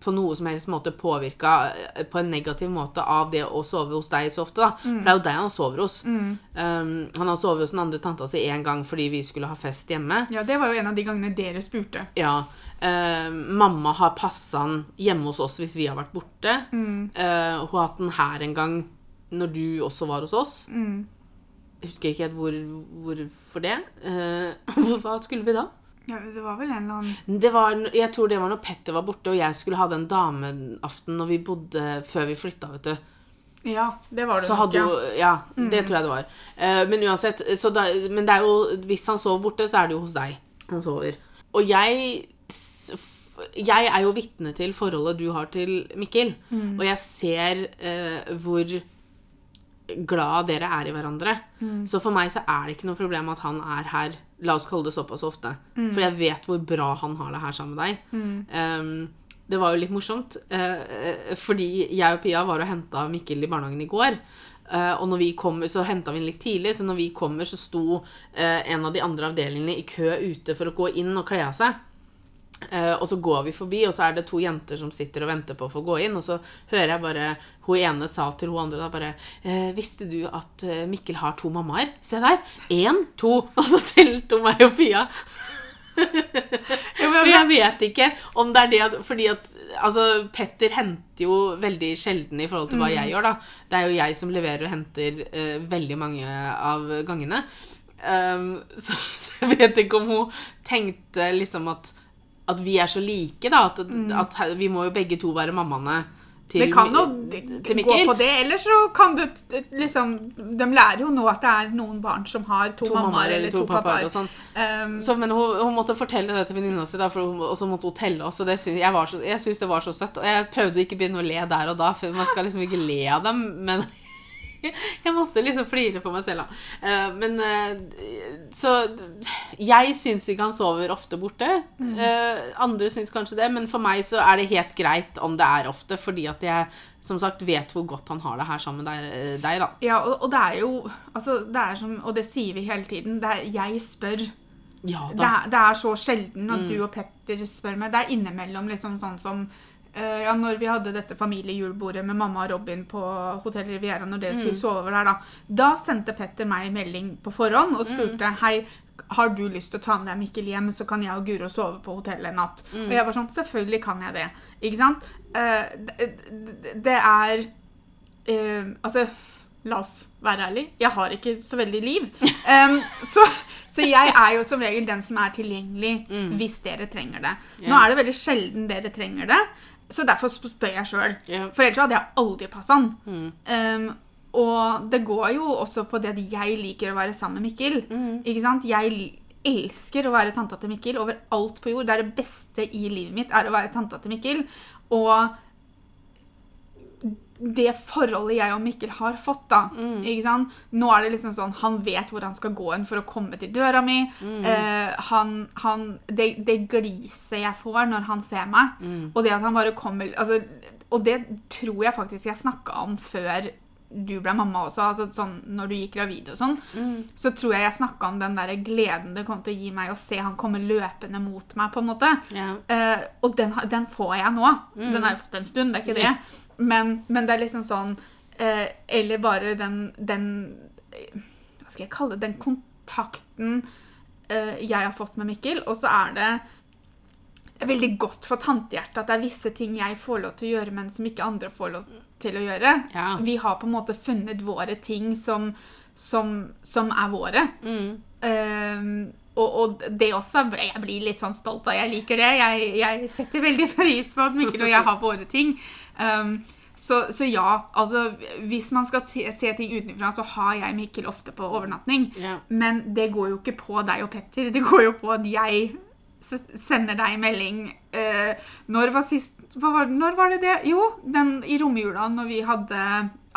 A: på noe som helst måte påvirka eh, på en negativ måte av det å sove hos deg så ofte, da. For det er jo deg han sover hos. Um, han har sovet hos den andre tanta si én gang fordi vi skulle ha fest hjemme.
B: Ja, det var jo en av de gangene dere spurte.
A: Ja. eh, mamma har passa han hjemme hos oss hvis vi har vært borte. Eh, hun har hatt den her en gang når du også var hos oss.
B: Mm.
A: Jeg husker ikke helt hvor, hvorfor det. Eh, hva skulle vi da?
B: Ja, det var vel en eller annen
A: Det var, jeg tror det var når Petter var borte, og jeg skulle ha den dameaften når vi bodde, før vi flytta. vet du.
B: Ja, det var det
A: Så
B: nok,
A: hadde
B: ja. Mm.
A: jo, ja, Det tror jeg det var. Eh, men uansett, så da, men det er jo, hvis han sover borte, så er det jo hos deg han sover. Og jeg, s- f- jeg er jo vitne til forholdet du har til Mikkel.
B: Mm.
A: Og jeg ser eh, hvor glad dere er i hverandre. Så for meg så er det ikke noe problem at han er her. La oss kalle det såpass ofte. For jeg vet hvor bra han har det her sammen med deg. Ehm, det var jo litt morsomt, eh, eh, fordi jeg og Pia var og henta Mikkel i barnehagen i går. Eh, og når vi kommer, så henta vi han litt tidlig, så når vi kommer, så sto eh, en av de andre avdelingene i kø ute for å gå inn og kle av seg. Eh, og så går vi forbi, og så er det to jenter som sitter og venter på å få gå inn. Og så hører jeg bare Hun ene sa til hun andre da bare eh, 'Visste du at eh, Mikkel har to mammaer?' Se der. Én, to. Og så telte hun meg og Pia.
B: Ja, men
A: For
B: altså-
A: jeg vet ikke om det er det at Fordi at altså, Petter henter jo veldig sjelden i forhold til
B: Mm.
A: hva jeg gjør, da. Det er jo jeg som leverer og henter eh, veldig mange av gangene. Um, så, så jeg vet ikke om hun tenkte liksom at at vi er så like, da. At, at her- vi må jo begge to være mammaene til,
B: Mm. Det kan jo
A: Mi-
B: d-
A: til
B: gå
A: Mikkel.
B: på det, ellers så kan du t- liksom De lærer jo nå at det er noen barn som har to,
A: To
B: mammaer eller to, pappaer.
A: og sånn.
B: Ehm,
A: Så, men hun, hun måtte fortelle det til venninna si, da, for hun, og så måtte hun telle oss. Og det syns- jeg, var så, jeg syns det var så søtt. Og jeg prøvde å ikke begynne å le der og da, for man skal liksom ikke le av dem, men jeg måtte liksom flire for meg selv, da. Eh, men eh, Så jeg syns ikke han sover ofte borte.
B: Mm.
A: Eh, andre syns kanskje det, men for meg så er det helt greit om det er ofte, fordi at jeg som sagt vet hvor godt han har det her sammen med deg, eh, deg da.
B: ja, og, og det er jo altså, det er som, Og det sier vi hele tiden. Det er, jeg spør.
A: Ja
B: Det er, det er så sjelden at du og Petter spør meg. Det er innimellom liksom sånn som eh, ja, når vi hadde dette familiejulebordet med mamma og Robin på Hotell Riviera, når dere skulle sove over der, da, da sendte Petter meg en melding på forhånd og spurte hei, har du lyst til å ta med deg Mikkel hjem, så kan jeg og Guro sove på hotellet en natt. Og jeg var sånn, selvfølgelig kan jeg det. Ikke sant? Eh, det, det- det er eh, Altså, la oss være ærlig. Jeg har ikke så veldig liv. Em, så, så jeg er jo som regel den som er tilgjengelig hvis dere trenger det.
A: Mm.
B: Nå
A: Ja.
B: er det veldig sjelden dere trenger det, så derfor sp- spør jeg sjøl.
A: Ja.
B: For ellers så hadde jeg aldri passa han.
A: Mm.
B: Em, og det går jo også på det at jeg liker å være sammen med Mikkel.
A: Mm.
B: Ikke sant? Jeg l- elsker å være tanta til Mikkel overalt på jord. Det er det beste i livet mitt, er å være tanta til Mikkel. Og det forholdet jeg og Mikkel har fått, da. Ikke sant? Nå er det liksom sånn Han vet hvor han skal gå hen for å komme til døra mi. Eh, han, han, det, det gliset jeg får når han ser meg, og det at han bare kommer altså, Og det tror jeg faktisk jeg snakka om før du ble mamma også, altså sånn når du gikk gravid og sånn, så tror jeg jeg snakka om den der gleden det kom til å gi meg å se han komme løpende mot meg, på en måte.
A: Ja.
B: Eh, og den, har- den får jeg nå. Den har jeg fått en stund, det er ikke det. Men, men det er liksom sånn eh, Eller bare den, den eh, Hva skal jeg kalle det? Den kontakten eh, jeg har fått med Mikkel. Og så er det veldig godt for tantehjertet at det er visse ting jeg får lov til å gjøre, men som ikke andre får lov til å gjøre.
A: Ja.
B: Vi har på en måte funnet våre ting som, som, som er våre.
A: Mm.
B: Ehm, og, og det også Jeg blir litt sånn stolt, og jeg liker det. Jeg, jeg setter veldig pris på at Mikkel og jeg har våre ting. Ehm, så, så ja, altså hvis man skal te- se ting utenfra, så har jeg Mikkel ofte på overnatting.
A: Ja.
B: Men det går jo ikke på deg og Petter. Det går jo på at jeg s- sender deg melding eh, Når var sist hva var, Når var det det? Jo, den i romjula når vi hadde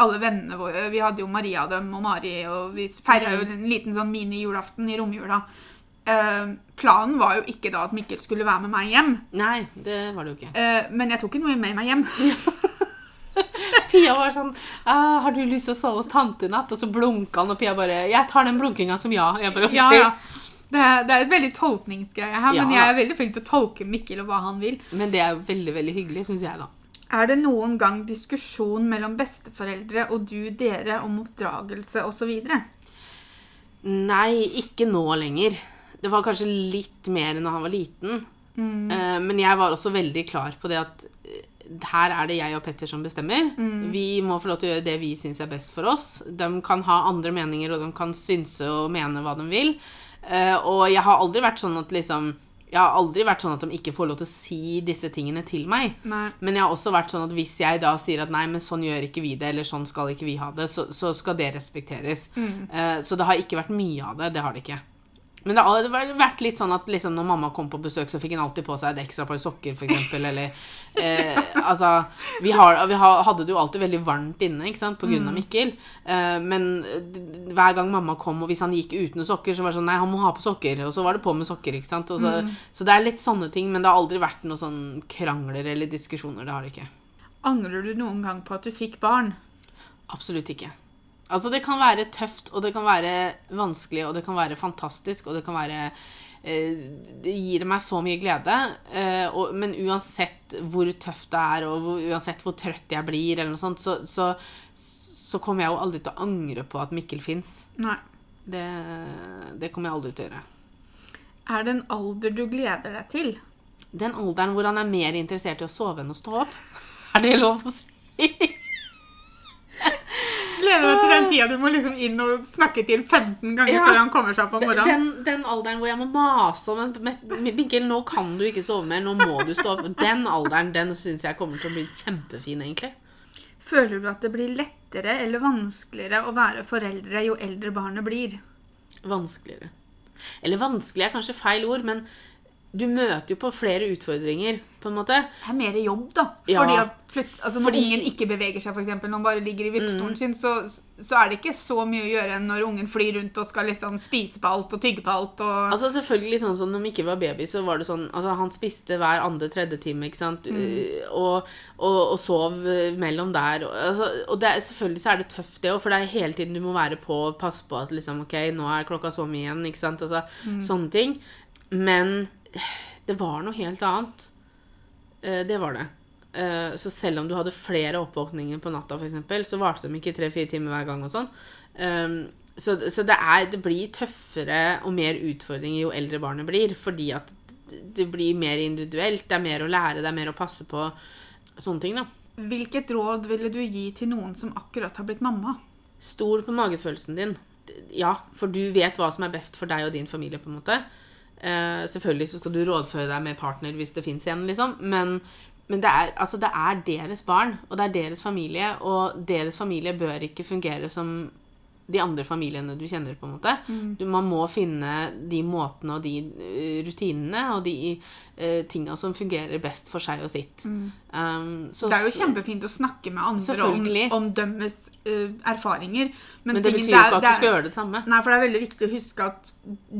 B: alle vennene våre Vi hadde jo Maria og dem og Mari, og vi feira jo en liten sånn mini-julaften i romjula. Eh, planen var jo ikke da at Mikkel skulle være med meg hjem,
A: Nei, det var det jo ikke.
B: eh, men jeg tok ikke noe med meg hjem.
A: Pia var sånn «Ah, 'Har du lyst til å sove hos tante i natt?' Og så blunka han, og Pia bare 'Jeg tar den blunkinga som ja'. Jeg bare, «Ok».
B: Ja, ja. Det er, det er et veldig tolkningsgreie her, men
A: Ja.
B: jeg er veldig flink til å tolke Mikkel og hva han vil.
A: Men det er jo veldig, veldig hyggelig, syns jeg, da.
B: Er det noen gang diskusjon mellom besteforeldre og du, dere, om oppdragelse osv.?
A: Nei, ikke nå lenger. Det var kanskje litt mer enn da han var liten. Eh, men jeg var også veldig klar på det at eh, her er det jeg og Petter som bestemmer. Vi må få lov til å gjøre det vi syns er best for oss. De kan ha andre meninger, og de kan synse og mene hva de vil. Eh, og jeg har aldri vært sånn at liksom jeg har aldri vært sånn at de ikke får lov til å si disse tingene til meg.
B: Nei.
A: Men jeg har også vært sånn at hvis jeg da sier at nei, men sånn gjør ikke vi det, eller sånn skal ikke vi ha det, så, så skal det respekteres. Eh, så det har ikke vært mye av det. Det har det ikke. Men det har vel vært litt sånn at liksom når mamma kom på besøk, så fikk hun alltid på seg et ekstra par sokker, f.eks. Eller eh, Altså, vi, har, vi har, hadde det jo alltid veldig varmt inne, ikke sant, på grunn av Mikkel. Eh, men d- hver gang mamma kom, og hvis han gikk uten sokker, så var det sånn Nei, han må ha på sokker. Og så var det på med sokker, ikke sant. Og så, så det er litt sånne ting, men det har aldri vært noen sånn krangler eller diskusjoner. Det har det ikke.
B: Angrer du noen gang på at du fikk barn?
A: Absolutt ikke. Altså, det kan være tøft, og det kan være vanskelig, og det kan være fantastisk, og det kan være eh, Det gir meg så mye glede, eh, og, men uansett hvor tøft det er, og hvor, uansett hvor trøtt jeg blir, eller noe sånt, så, så, så kommer jeg jo aldri til å angre på at Mikkel fins.
B: Nei.
A: Det, det kommer jeg aldri til å gjøre.
B: Er det en alder du gleder deg til?
A: Den alderen hvor han er mer interessert i å sove enn å stå opp. Er det lov å si?
B: Gleder meg til den tida du må liksom inn og snakke til 15 ganger
A: Ja.
B: før han kommer seg opp om morgenen.
A: Den, den alderen hvor jeg må mase om en men- Mikkel, nå kan du ikke sove mer, nå må du stå opp. Den alderen den syns jeg kommer til å bli kjempefin, egentlig.
B: Føler du at det blir lettere eller vanskeligere å være foreldre jo eldre barnet blir?
A: Vanskeligere. Eller vanskelig er kanskje feil ord, men du møter jo på flere utfordringer, på en måte.
B: Det er mer jobb, da.
A: Ja.
B: Fordi at plut- altså Når
A: Fordi- Mm.
B: ungen ikke beveger seg, for eksempel, når han bare ligger i vippestolen sin, så, så er det ikke så mye å gjøre enn når ungen flyr rundt og skal liksom spise på alt og tygge på alt. Og...
A: Altså selvfølgelig sånn som når Mikkel var baby, så var det sånn altså, Han spiste hver andre, tredje time, ikke sant? Uh, Og, og, og sov uh, mellom der. Og, altså, og det, er- selvfølgelig så er det tøft, det òg, for det er hele tiden du må være på og passe på at liksom OK, nå er klokka så mye igjen, ikke sant? Altså sånne ting. Men eh, det var noe helt annet. Eh, Det var det. Eh, Så selv om du hadde flere oppvåkninger på natta, for eksempel, så varte de ikke tre-fire timer hver gang og sånn. Um, Så, så det, er, det blir tøffere og mer utfordringer jo eldre barnet blir, fordi at det blir mer individuelt, det er mer å lære, det er mer å passe på. Sånne ting, da.
B: Hvilket råd ville du gi til noen som akkurat har blitt mamma?
A: Stol på magefølelsen din. Ja, for du vet hva som er best for deg og din familie, på en måte. Eh, selvfølgelig så skal du rådføre deg med partner hvis det fins en, liksom. Men, men det, er, altså, det er deres barn, og det er deres familie. Og deres familie bør ikke fungere som de andre familiene du kjenner, på en måte. Du, man må finne de måtene og de eh, rutinene og de uh, tinga som fungerer best for seg og sitt. Um, så-
B: Mm. Det er jo kjempefint å snakke med andre om,
A: Selvfølgelig.
B: om deres eh, erfaringer.
A: Men det
B: tingen-
A: betyr jo
B: er-
A: ikke at du
B: det er-
A: skal gjøre det samme.
B: Nei, for det er veldig viktig å huske at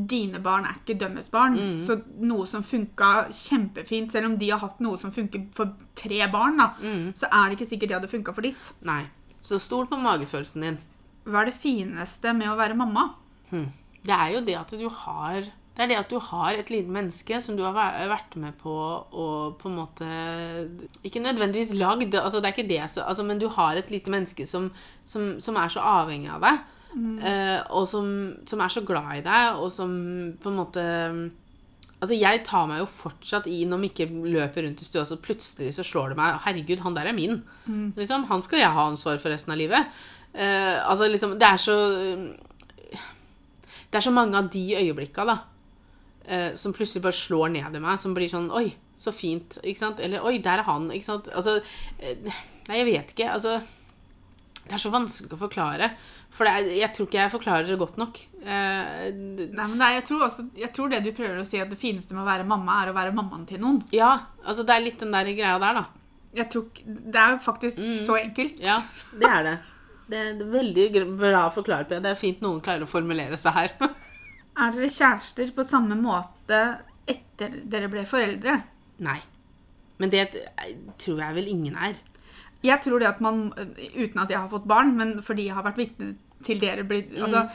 B: dine barn er ikke dømmes barn. Så noe som funka kjempefint, selv om de har hatt noe som funker for tre barn, da, så er det ikke sikkert det hadde funka for ditt.
A: Nei. Så stol på magefølelsen din.
B: Hva er det fineste med å være mamma?
A: Hm. Det er jo det at du har det er det at du har et lite menneske som du har væ- vært med på og på en måte Ikke nødvendigvis lagd, altså det er ikke det, så, altså, men du har et lite menneske som, som, som er så avhengig av deg. eh, og som, som er så glad i deg, og som på en måte Altså Jeg tar meg jo fortsatt i når Mikkel løper rundt i stua, så plutselig så slår det meg Herregud, han der er min. Liksom, han skal jeg ha ansvar for resten av livet. Eh, altså liksom, Det er så det er så mange av de øyeblikka da, eh, som plutselig bare slår ned i meg, som blir sånn Oi, så fint. Ikke sant? Eller Oi, der er han. Ikke sant? Altså eh, Nei, jeg vet ikke. Altså Det er så vanskelig å forklare. For det er, jeg tror ikke jeg forklarer det godt nok. Eh, d-
B: Nei, men det er, jeg, tror også, jeg tror det du prøver å si, at det fineste med å være mamma, er å være mammaen til noen.
A: ja, altså det er litt den der greia der, da.
B: Jeg tror, ikke- det er jo faktisk så enkelt.
A: Ja, det er det. Det er det er veldig gr- bra forklart, Pia. Det er fint noen klarer å formulere seg her.
B: Er dere kjærester på samme måte etter dere ble foreldre?
A: Nei. Men det eh, tror jeg vel ingen er.
B: Jeg tror det at eh,
A: Mm.
B: man, uten at jeg har fått barn, men fordi jeg har vært vitne til dere bli, altså,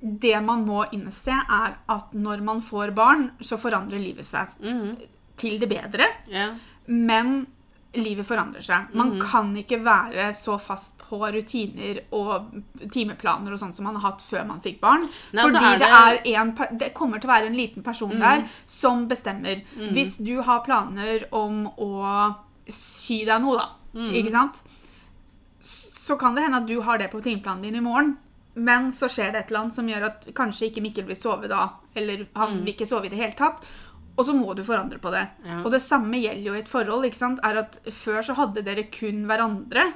B: det man må innse, er at når man får barn, så forandrer livet seg
A: Mhm.
B: til det bedre.
A: Ja.
B: Men livet forandrer seg. Man
A: Mm.
B: kan ikke være så fast på rutiner og timeplaner og sånt som man har hatt før man fikk barn.
A: Nei, altså,
B: fordi
A: er
B: det...
A: det- Mm.
B: er en, per- det kommer til å være en liten person der som bestemmer. Hvis du har planer om å sy deg noe, da,
A: Mm.
B: ikke sant? S- Så kan det hende at du har det på timeplanen din i morgen. Men så skjer det et eller annet som gjør at kanskje ikke Mikkel vil sove da. Eller
A: Mm.
B: han vil ikke sove i det hele tatt. Og så må du forandre på det.
A: Ja.
B: Og det samme gjelder jo i et forhold. ikke sant? Er at Før så hadde dere kun hverandre.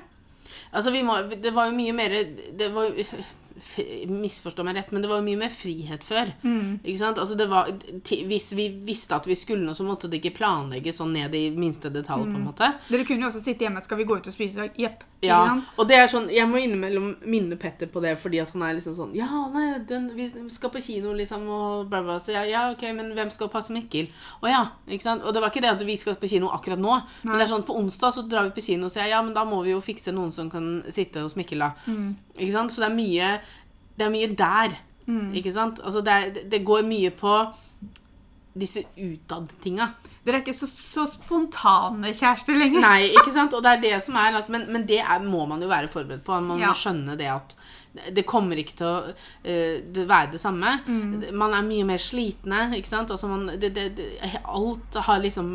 A: Altså, vi må, det var jo mye mer det var, jo- f- Misforstå meg rett, men det var jo mye mer frihet før. Ikke sant? Altså, det var, ti- hvis vi visste at vi skulle noe, så måtte det ikke planlegges sånn ned i minste detalj. på en måte.
B: Dere kunne jo også sitte hjemme. Skal vi gå ut og spise? i dag? Jepp. ikke
A: Ja,
B: sant?
A: og det er sånn, Jeg må innimellom minne Petter på det, fordi at han er liksom sånn Ja, nei, den, vi skal på kino, liksom, og bla, bla. Så jeg, ja, OK, men hvem skal passe Mikkel? Å ja, ikke sant? Og det var ikke det at vi skal på kino akkurat nå, men det er sånn på onsdag så drar vi på kino, og sier jeg, ja, men da må vi jo fikse noen som kan sitte hos Mikkel, da.
B: Mm.
A: Ikke sant? Så det er mye Det er mye der.
B: Mm.
A: Ikke sant? Altså, det, er, det går mye på disse utad-tinga.
B: Dere er ikke så, så spontane kjærester lenger.
A: Nei, ikke sant? Og det er det som er at, Men, men det er, må man jo være forberedt på. Man
B: Ja.
A: må skjønne det at det kommer ikke til å eh, det være det samme. Man er mye mer slitne, ikke sant? Altså man, det, det, det, alt har liksom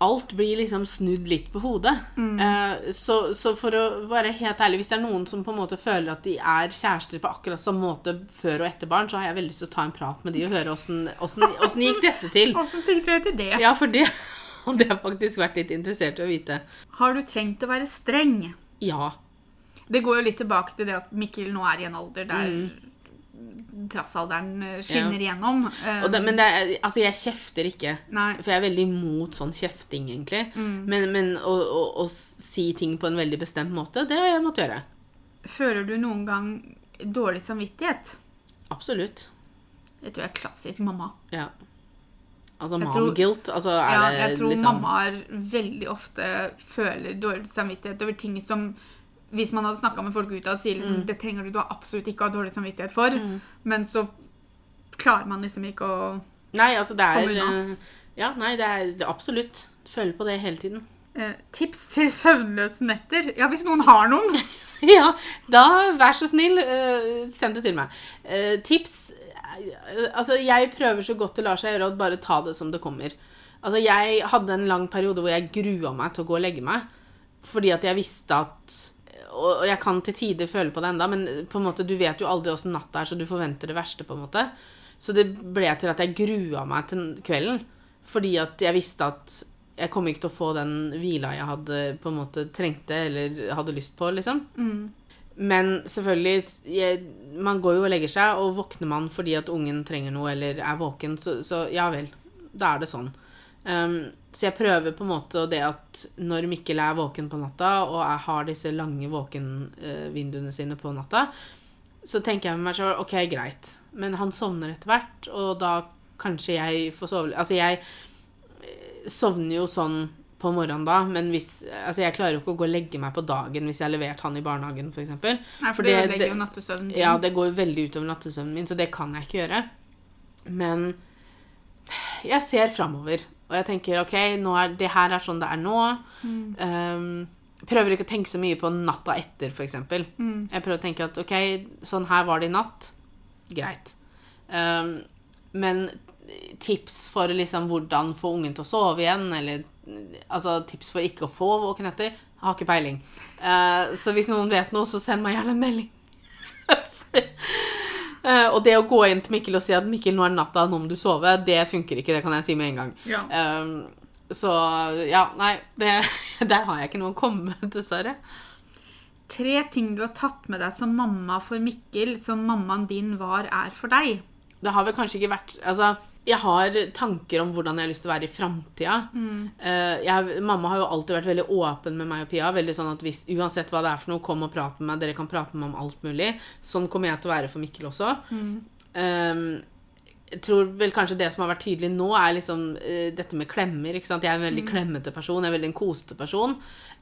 A: Alt blir liksom snudd litt på hodet. Eh, så, så for å være helt ærlig, hvis det er noen som på en måte føler at de er kjærester på akkurat samme måte før og etter barn, så har jeg veldig lyst til å ta en prat med de og høre åssen- åssen åssen gikk dette til.
B: Åssen tenkte dere til det?
A: Ja, for det hadde jeg faktisk vært litt interessert i å vite.
B: Har du trengt å være streng?
A: Ja.
B: Det går jo litt tilbake til det at Mikkel nå er i en alder der trassalderen eh, skinner igjennom. Eh,
A: Mm. Og det, men det er, altså jeg kjefter ikke.
B: Nei. Mm.
A: For jeg er veldig imot sånn kjefting, egentlig. Men, men å, å, å si ting på en veldig bestemt måte, det har jeg måttet gjøre.
B: Føler du noen gang dårlig samvittighet?
A: Absolutt.
B: Det tror jeg er klassisk mamma.
A: Ja. Altså
B: Jeg
A: mom
B: tror-
A: guilt. Altså er
B: Ja,
A: det
B: jeg tror
A: liksom
B: mammaer veldig ofte føler dårlig samvittighet over ting som Hvis man hadde snakka med folk utad, sier
A: Mm.
B: liksom Det trenger du da absolutt ikke ha dårlig samvittighet for. Men så klarer man liksom ikke å
A: Nei, altså det
B: Kom
A: er
B: unna.
A: eh, Ja, nei, det er det, er absolutt. Føler på det hele tiden.
B: eh, Tips til søvnløse netter? Ja, hvis noen har noen!
A: Ja, da vær så snill, eh, send det til meg. Eh, tips eh, Altså, jeg prøver så godt det lar seg gjøre å bare ta det som det kommer. Altså, jeg hadde en lang periode hvor jeg grua meg til å gå og legge meg. Fordi at jeg visste at Og og jeg kan til tider føle på det enda, men eh, på en måte, du vet jo aldri åssen natta er, så du forventer det verste, på en måte. Så det ble til at jeg grua meg til kvelden. Fordi at jeg visste at jeg kom ikke til å få den hvila jeg hadde på en måte trengte eller hadde lyst på, liksom. Men selvfølgelig, jeg, man går jo og legger seg, og våkner man fordi at ungen trenger noe eller er våken, så, så ja vel, da er det sånn. Ehm, så jeg prøver på en måte det at når Mikkel er våken på natta, og jeg har disse lange våkenvinduene sine på natta, så tenker jeg med meg selv, ok, greit. Men han sovner etter hvert, og da kanskje jeg får sove. Altså, jeg eh, sovner jo sånn på morgenen da, men hvis, altså jeg klarer jo ikke å gå og legge meg på dagen hvis jeg har levert han i barnehagen, for eksempel.
B: Nei, for
A: For
B: det
A: det-
B: ødelegger jo nattesøvnen. din.
A: Ja, det går jo veldig utover nattesøvnen min, så det kan jeg ikke gjøre. Men jeg ser framover, og jeg tenker OK, nå er, det her er sånn det er nå.
B: Mm.
A: Ehm, prøver ikke å tenke så mye på natta etter, f.eks. eksempel.
B: Mm.
A: Jeg prøver å tenke at OK, sånn her var det i natt. Greit. Ehm, men tips for liksom hvordan få ungen til å sove igjen, eller altså, tips for ikke å få våken etter, jeg har ikke peiling. Eh, så hvis noen vet noe, så send meg gjerne en melding. Eh, og det å gå inn til Mikkel og si at 'Mikkel, nå er natta, nå må du sove', det funker ikke. Det kan jeg si med en gang.
B: Ja.
A: Eh, så ja, nei, det, der har jeg ikke noe å komme med, dessverre.
B: Tre ting du har tatt med deg som mamma for Mikkel, som mammaen din var, er for deg.
A: Det har vel kanskje ikke vært Altså, jeg har tanker om hvordan jeg har lyst til å være i framtida. Eh, jeg- mamma har jo alltid vært veldig åpen med meg og Pia. Veldig sånn at hvis, Uansett hva det er for noe, kom og prat med meg. Dere kan prate med meg om alt mulig. Sånn kommer jeg til å være for Mikkel også. Eh, jeg tror vel kanskje det som har vært tydelig nå, er liksom eh, dette med klemmer. ikke sant? Jeg er en veldig klemmete person. Jeg er veldig en kosete person.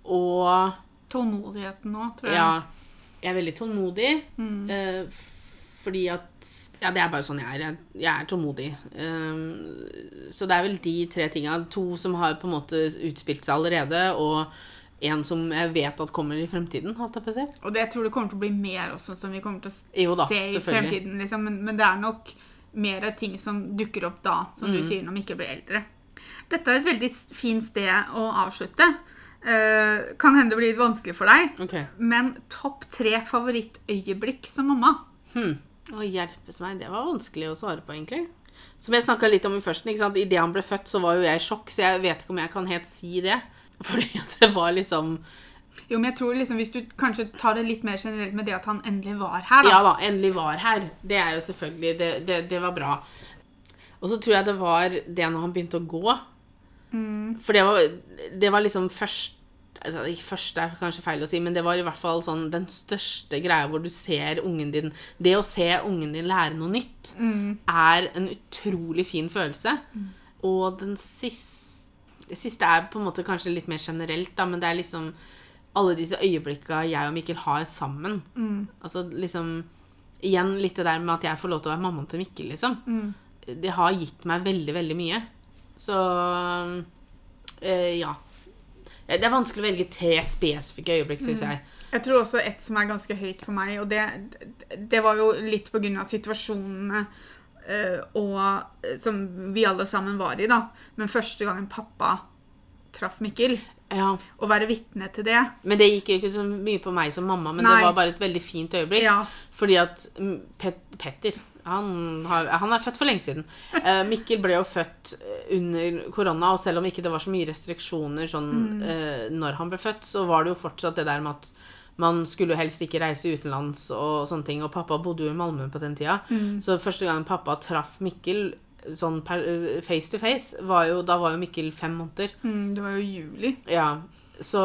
A: Og
B: Tålmodigheten nå, tror
A: Mm.
B: jeg.
A: ja. Jeg er veldig tålmodig. eh, f- fordi at Ja, det er bare sånn jeg er. Jeg, jeg er tålmodig. Ehm, så det er vel de tre tinga. To som har på en måte utspilt seg allerede, og en som jeg vet at kommer i fremtiden. Holdt jeg på å si.
B: Og det jeg tror det kommer til å bli mer også, som vi kommer til
A: Jo
B: å
A: da,
B: se i
A: selvfølgelig.
B: fremtiden. Liksom. Men, men det er nok mer ting som dukker opp da, som
A: Mm.
B: du sier, når vi ikke blir eldre. Dette er et veldig s- fint sted å avslutte. Eh, kan hende det blir litt vanskelig for deg,
A: Ok.
B: men topp tre favorittøyeblikk som mamma?
A: Hmm. Å hjelpes meg, det var vanskelig å svare på, egentlig. Som jeg snakka litt om i førsten, ikke sant? idet han ble født, så var jo jeg i sjokk, så jeg vet ikke om jeg kan helt si det. Fordi at det var liksom
B: Jo, men jeg tror liksom Hvis du kanskje tar det litt mer generelt med det at han endelig var her, da.
A: Ja da, endelig var her. Det er jo selvfølgelig Det, det, det var bra. Og så tror jeg det var det når han begynte å gå.
B: Mm.
A: For det var, det var liksom først altså, ikke Først er kanskje feil å si, men det var i hvert fall sånn den største greia hvor du ser ungen din Det å se ungen din lære noe nytt
B: Mm.
A: er en utrolig fin følelse. Og den siste Det siste er på en måte kanskje litt mer generelt, da, men det er liksom alle disse øyeblikka jeg og Mikkel har sammen. Altså liksom Igjen litt det der med at jeg får lov til å være mammaen til Mikkel, liksom. Det har gitt meg veldig, veldig mye. Så eh, ja. Det er vanskelig å velge tre spesifikke øyeblikk, syns jeg.
B: Jeg tror også et som er ganske høyt for meg, og det, det var jo litt på grunn av situasjonene eh, og, som vi alle sammen var i, da. Men første gangen pappa traff Mikkel,
A: Ja.
B: å være vitne til det
A: Men det gikk jo ikke så mye på meg som mamma, men
B: Nei.
A: det var bare et veldig fint øyeblikk.
B: Ja.
A: Fordi at mm, Pet Petter han, har, han er født for lenge siden. Eh, Mikkel ble jo født eh, under korona, og selv om ikke det var så mye restriksjoner sånn,
B: Mm.
A: eh, når han ble født, så var det jo fortsatt det der med at man skulle jo helst ikke reise utenlands og sånne ting. Og pappa bodde jo i Malmö på den tida,
B: Mm.
A: så første gang pappa traff Mikkel sånn per, face to face, var jo, da var jo Mikkel fem måneder.
B: mm, Det var jo juli.
A: Ja, så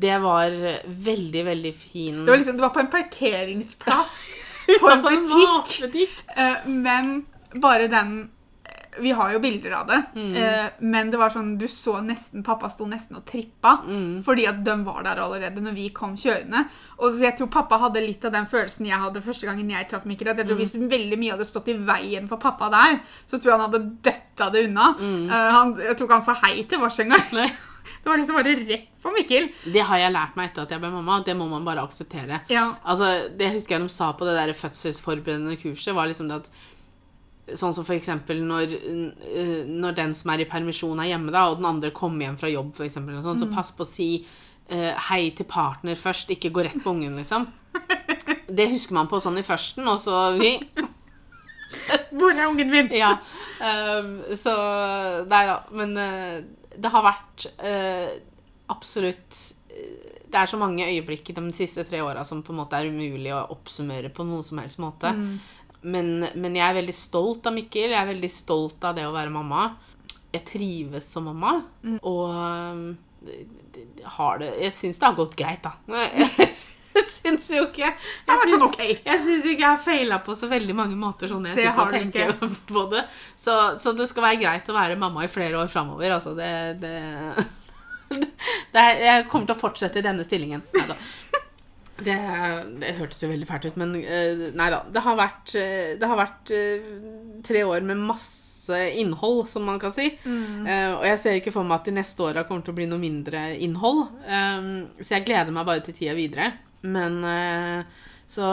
A: det var veldig, veldig fin
B: Det var liksom, det var på en parkeringsplass på en butikk. Eh, men bare den eh, Vi har jo bilder av det,
A: Mm.
B: eh, men det var sånn du så nesten Pappa sto nesten og trippa
A: Mm.
B: fordi at de var der allerede når vi kom kjørende. Og så Jeg tror pappa hadde litt av den følelsen jeg hadde første gangen jeg traff Mikkel. At jeg tror
A: Mm.
B: Hvis veldig mye hadde stått i veien for pappa der, så tror jeg han hadde døtta det unna. Eh, han, jeg tror ikke han sa hei til oss engang.
A: Mm. Nei.
B: Det var liksom bare rett på Mikkel.
A: Det har jeg lært meg etter at jeg ble mamma. Det må man bare akseptere.
B: Ja.
A: Altså, det husker jeg de sa på det der fødselsforberedende kurset, var liksom det at Sånn som for eksempel når, øh, når den som er i permisjon er hjemme, da, og den andre kommer hjem fra jobb, for eksempel, og sånn, så pass på å si øh, hei til partner først, ikke gå rett på ungen, liksom. Det husker man på sånn i førsten, og så
B: Hvor er ungen min?
A: Ja. ehm, så Nei da. Men eh, det har vært eh, absolutt eh, Det er så mange øyeblikk i de siste tre åra som på en måte er umulig å oppsummere på noen som helst måte.
B: Mm.
A: Men, men jeg er veldig stolt av Mikkel. Jeg er veldig stolt av det å være mamma. Jeg trives som mamma.
B: Mm.
A: Og ehm, det- det- det har det Jeg syns det har gått greit, da. Jeg syns jo ikke
B: har vært
A: jeg
B: sånn
A: syns-
B: ok.
A: jeg syns ikke jeg har feila på så veldig mange måter. sånn jeg
B: Det
A: sitter og
B: har du
A: tenker på det. Så, så det skal være greit å være mamma i flere år framover. Altså, det, det, det er, Jeg kommer til å fortsette i denne stillingen. Neida. Det, det hørtes jo veldig fælt ut, men eh, nei da. Det har vært, eh, det har vært eh, tre år med masse innhold, som man kan si. Eh, og jeg ser ikke for meg at de neste åra kommer til å bli noe mindre innhold. Eh, så jeg gleder meg bare til tida videre. Men eh, så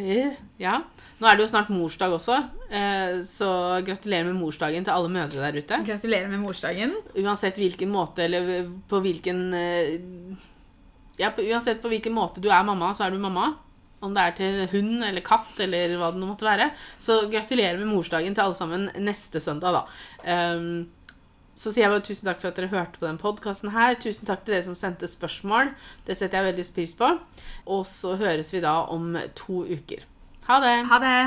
A: eh, ja. Nå er det jo snart morsdag også, eh, så gratulerer med morsdagen til alle mødre der ute.
B: Gratulerer med morsdagen.
A: Uansett hvilken måte, eller på hvilken eh, Ja, på, uansett på hvilken måte du er mamma, så er du mamma. Om det er til hund eller katt eller hva det nå måtte være. Så gratulerer med morsdagen til alle sammen neste søndag, da. Ehm, så sier jeg bare tusen takk for at dere hørte på den podkasten her. Tusen takk til dere som sendte spørsmål. Det setter jeg veldig pris på. Og så høres vi da om to uker. Ha det!
B: Ha det.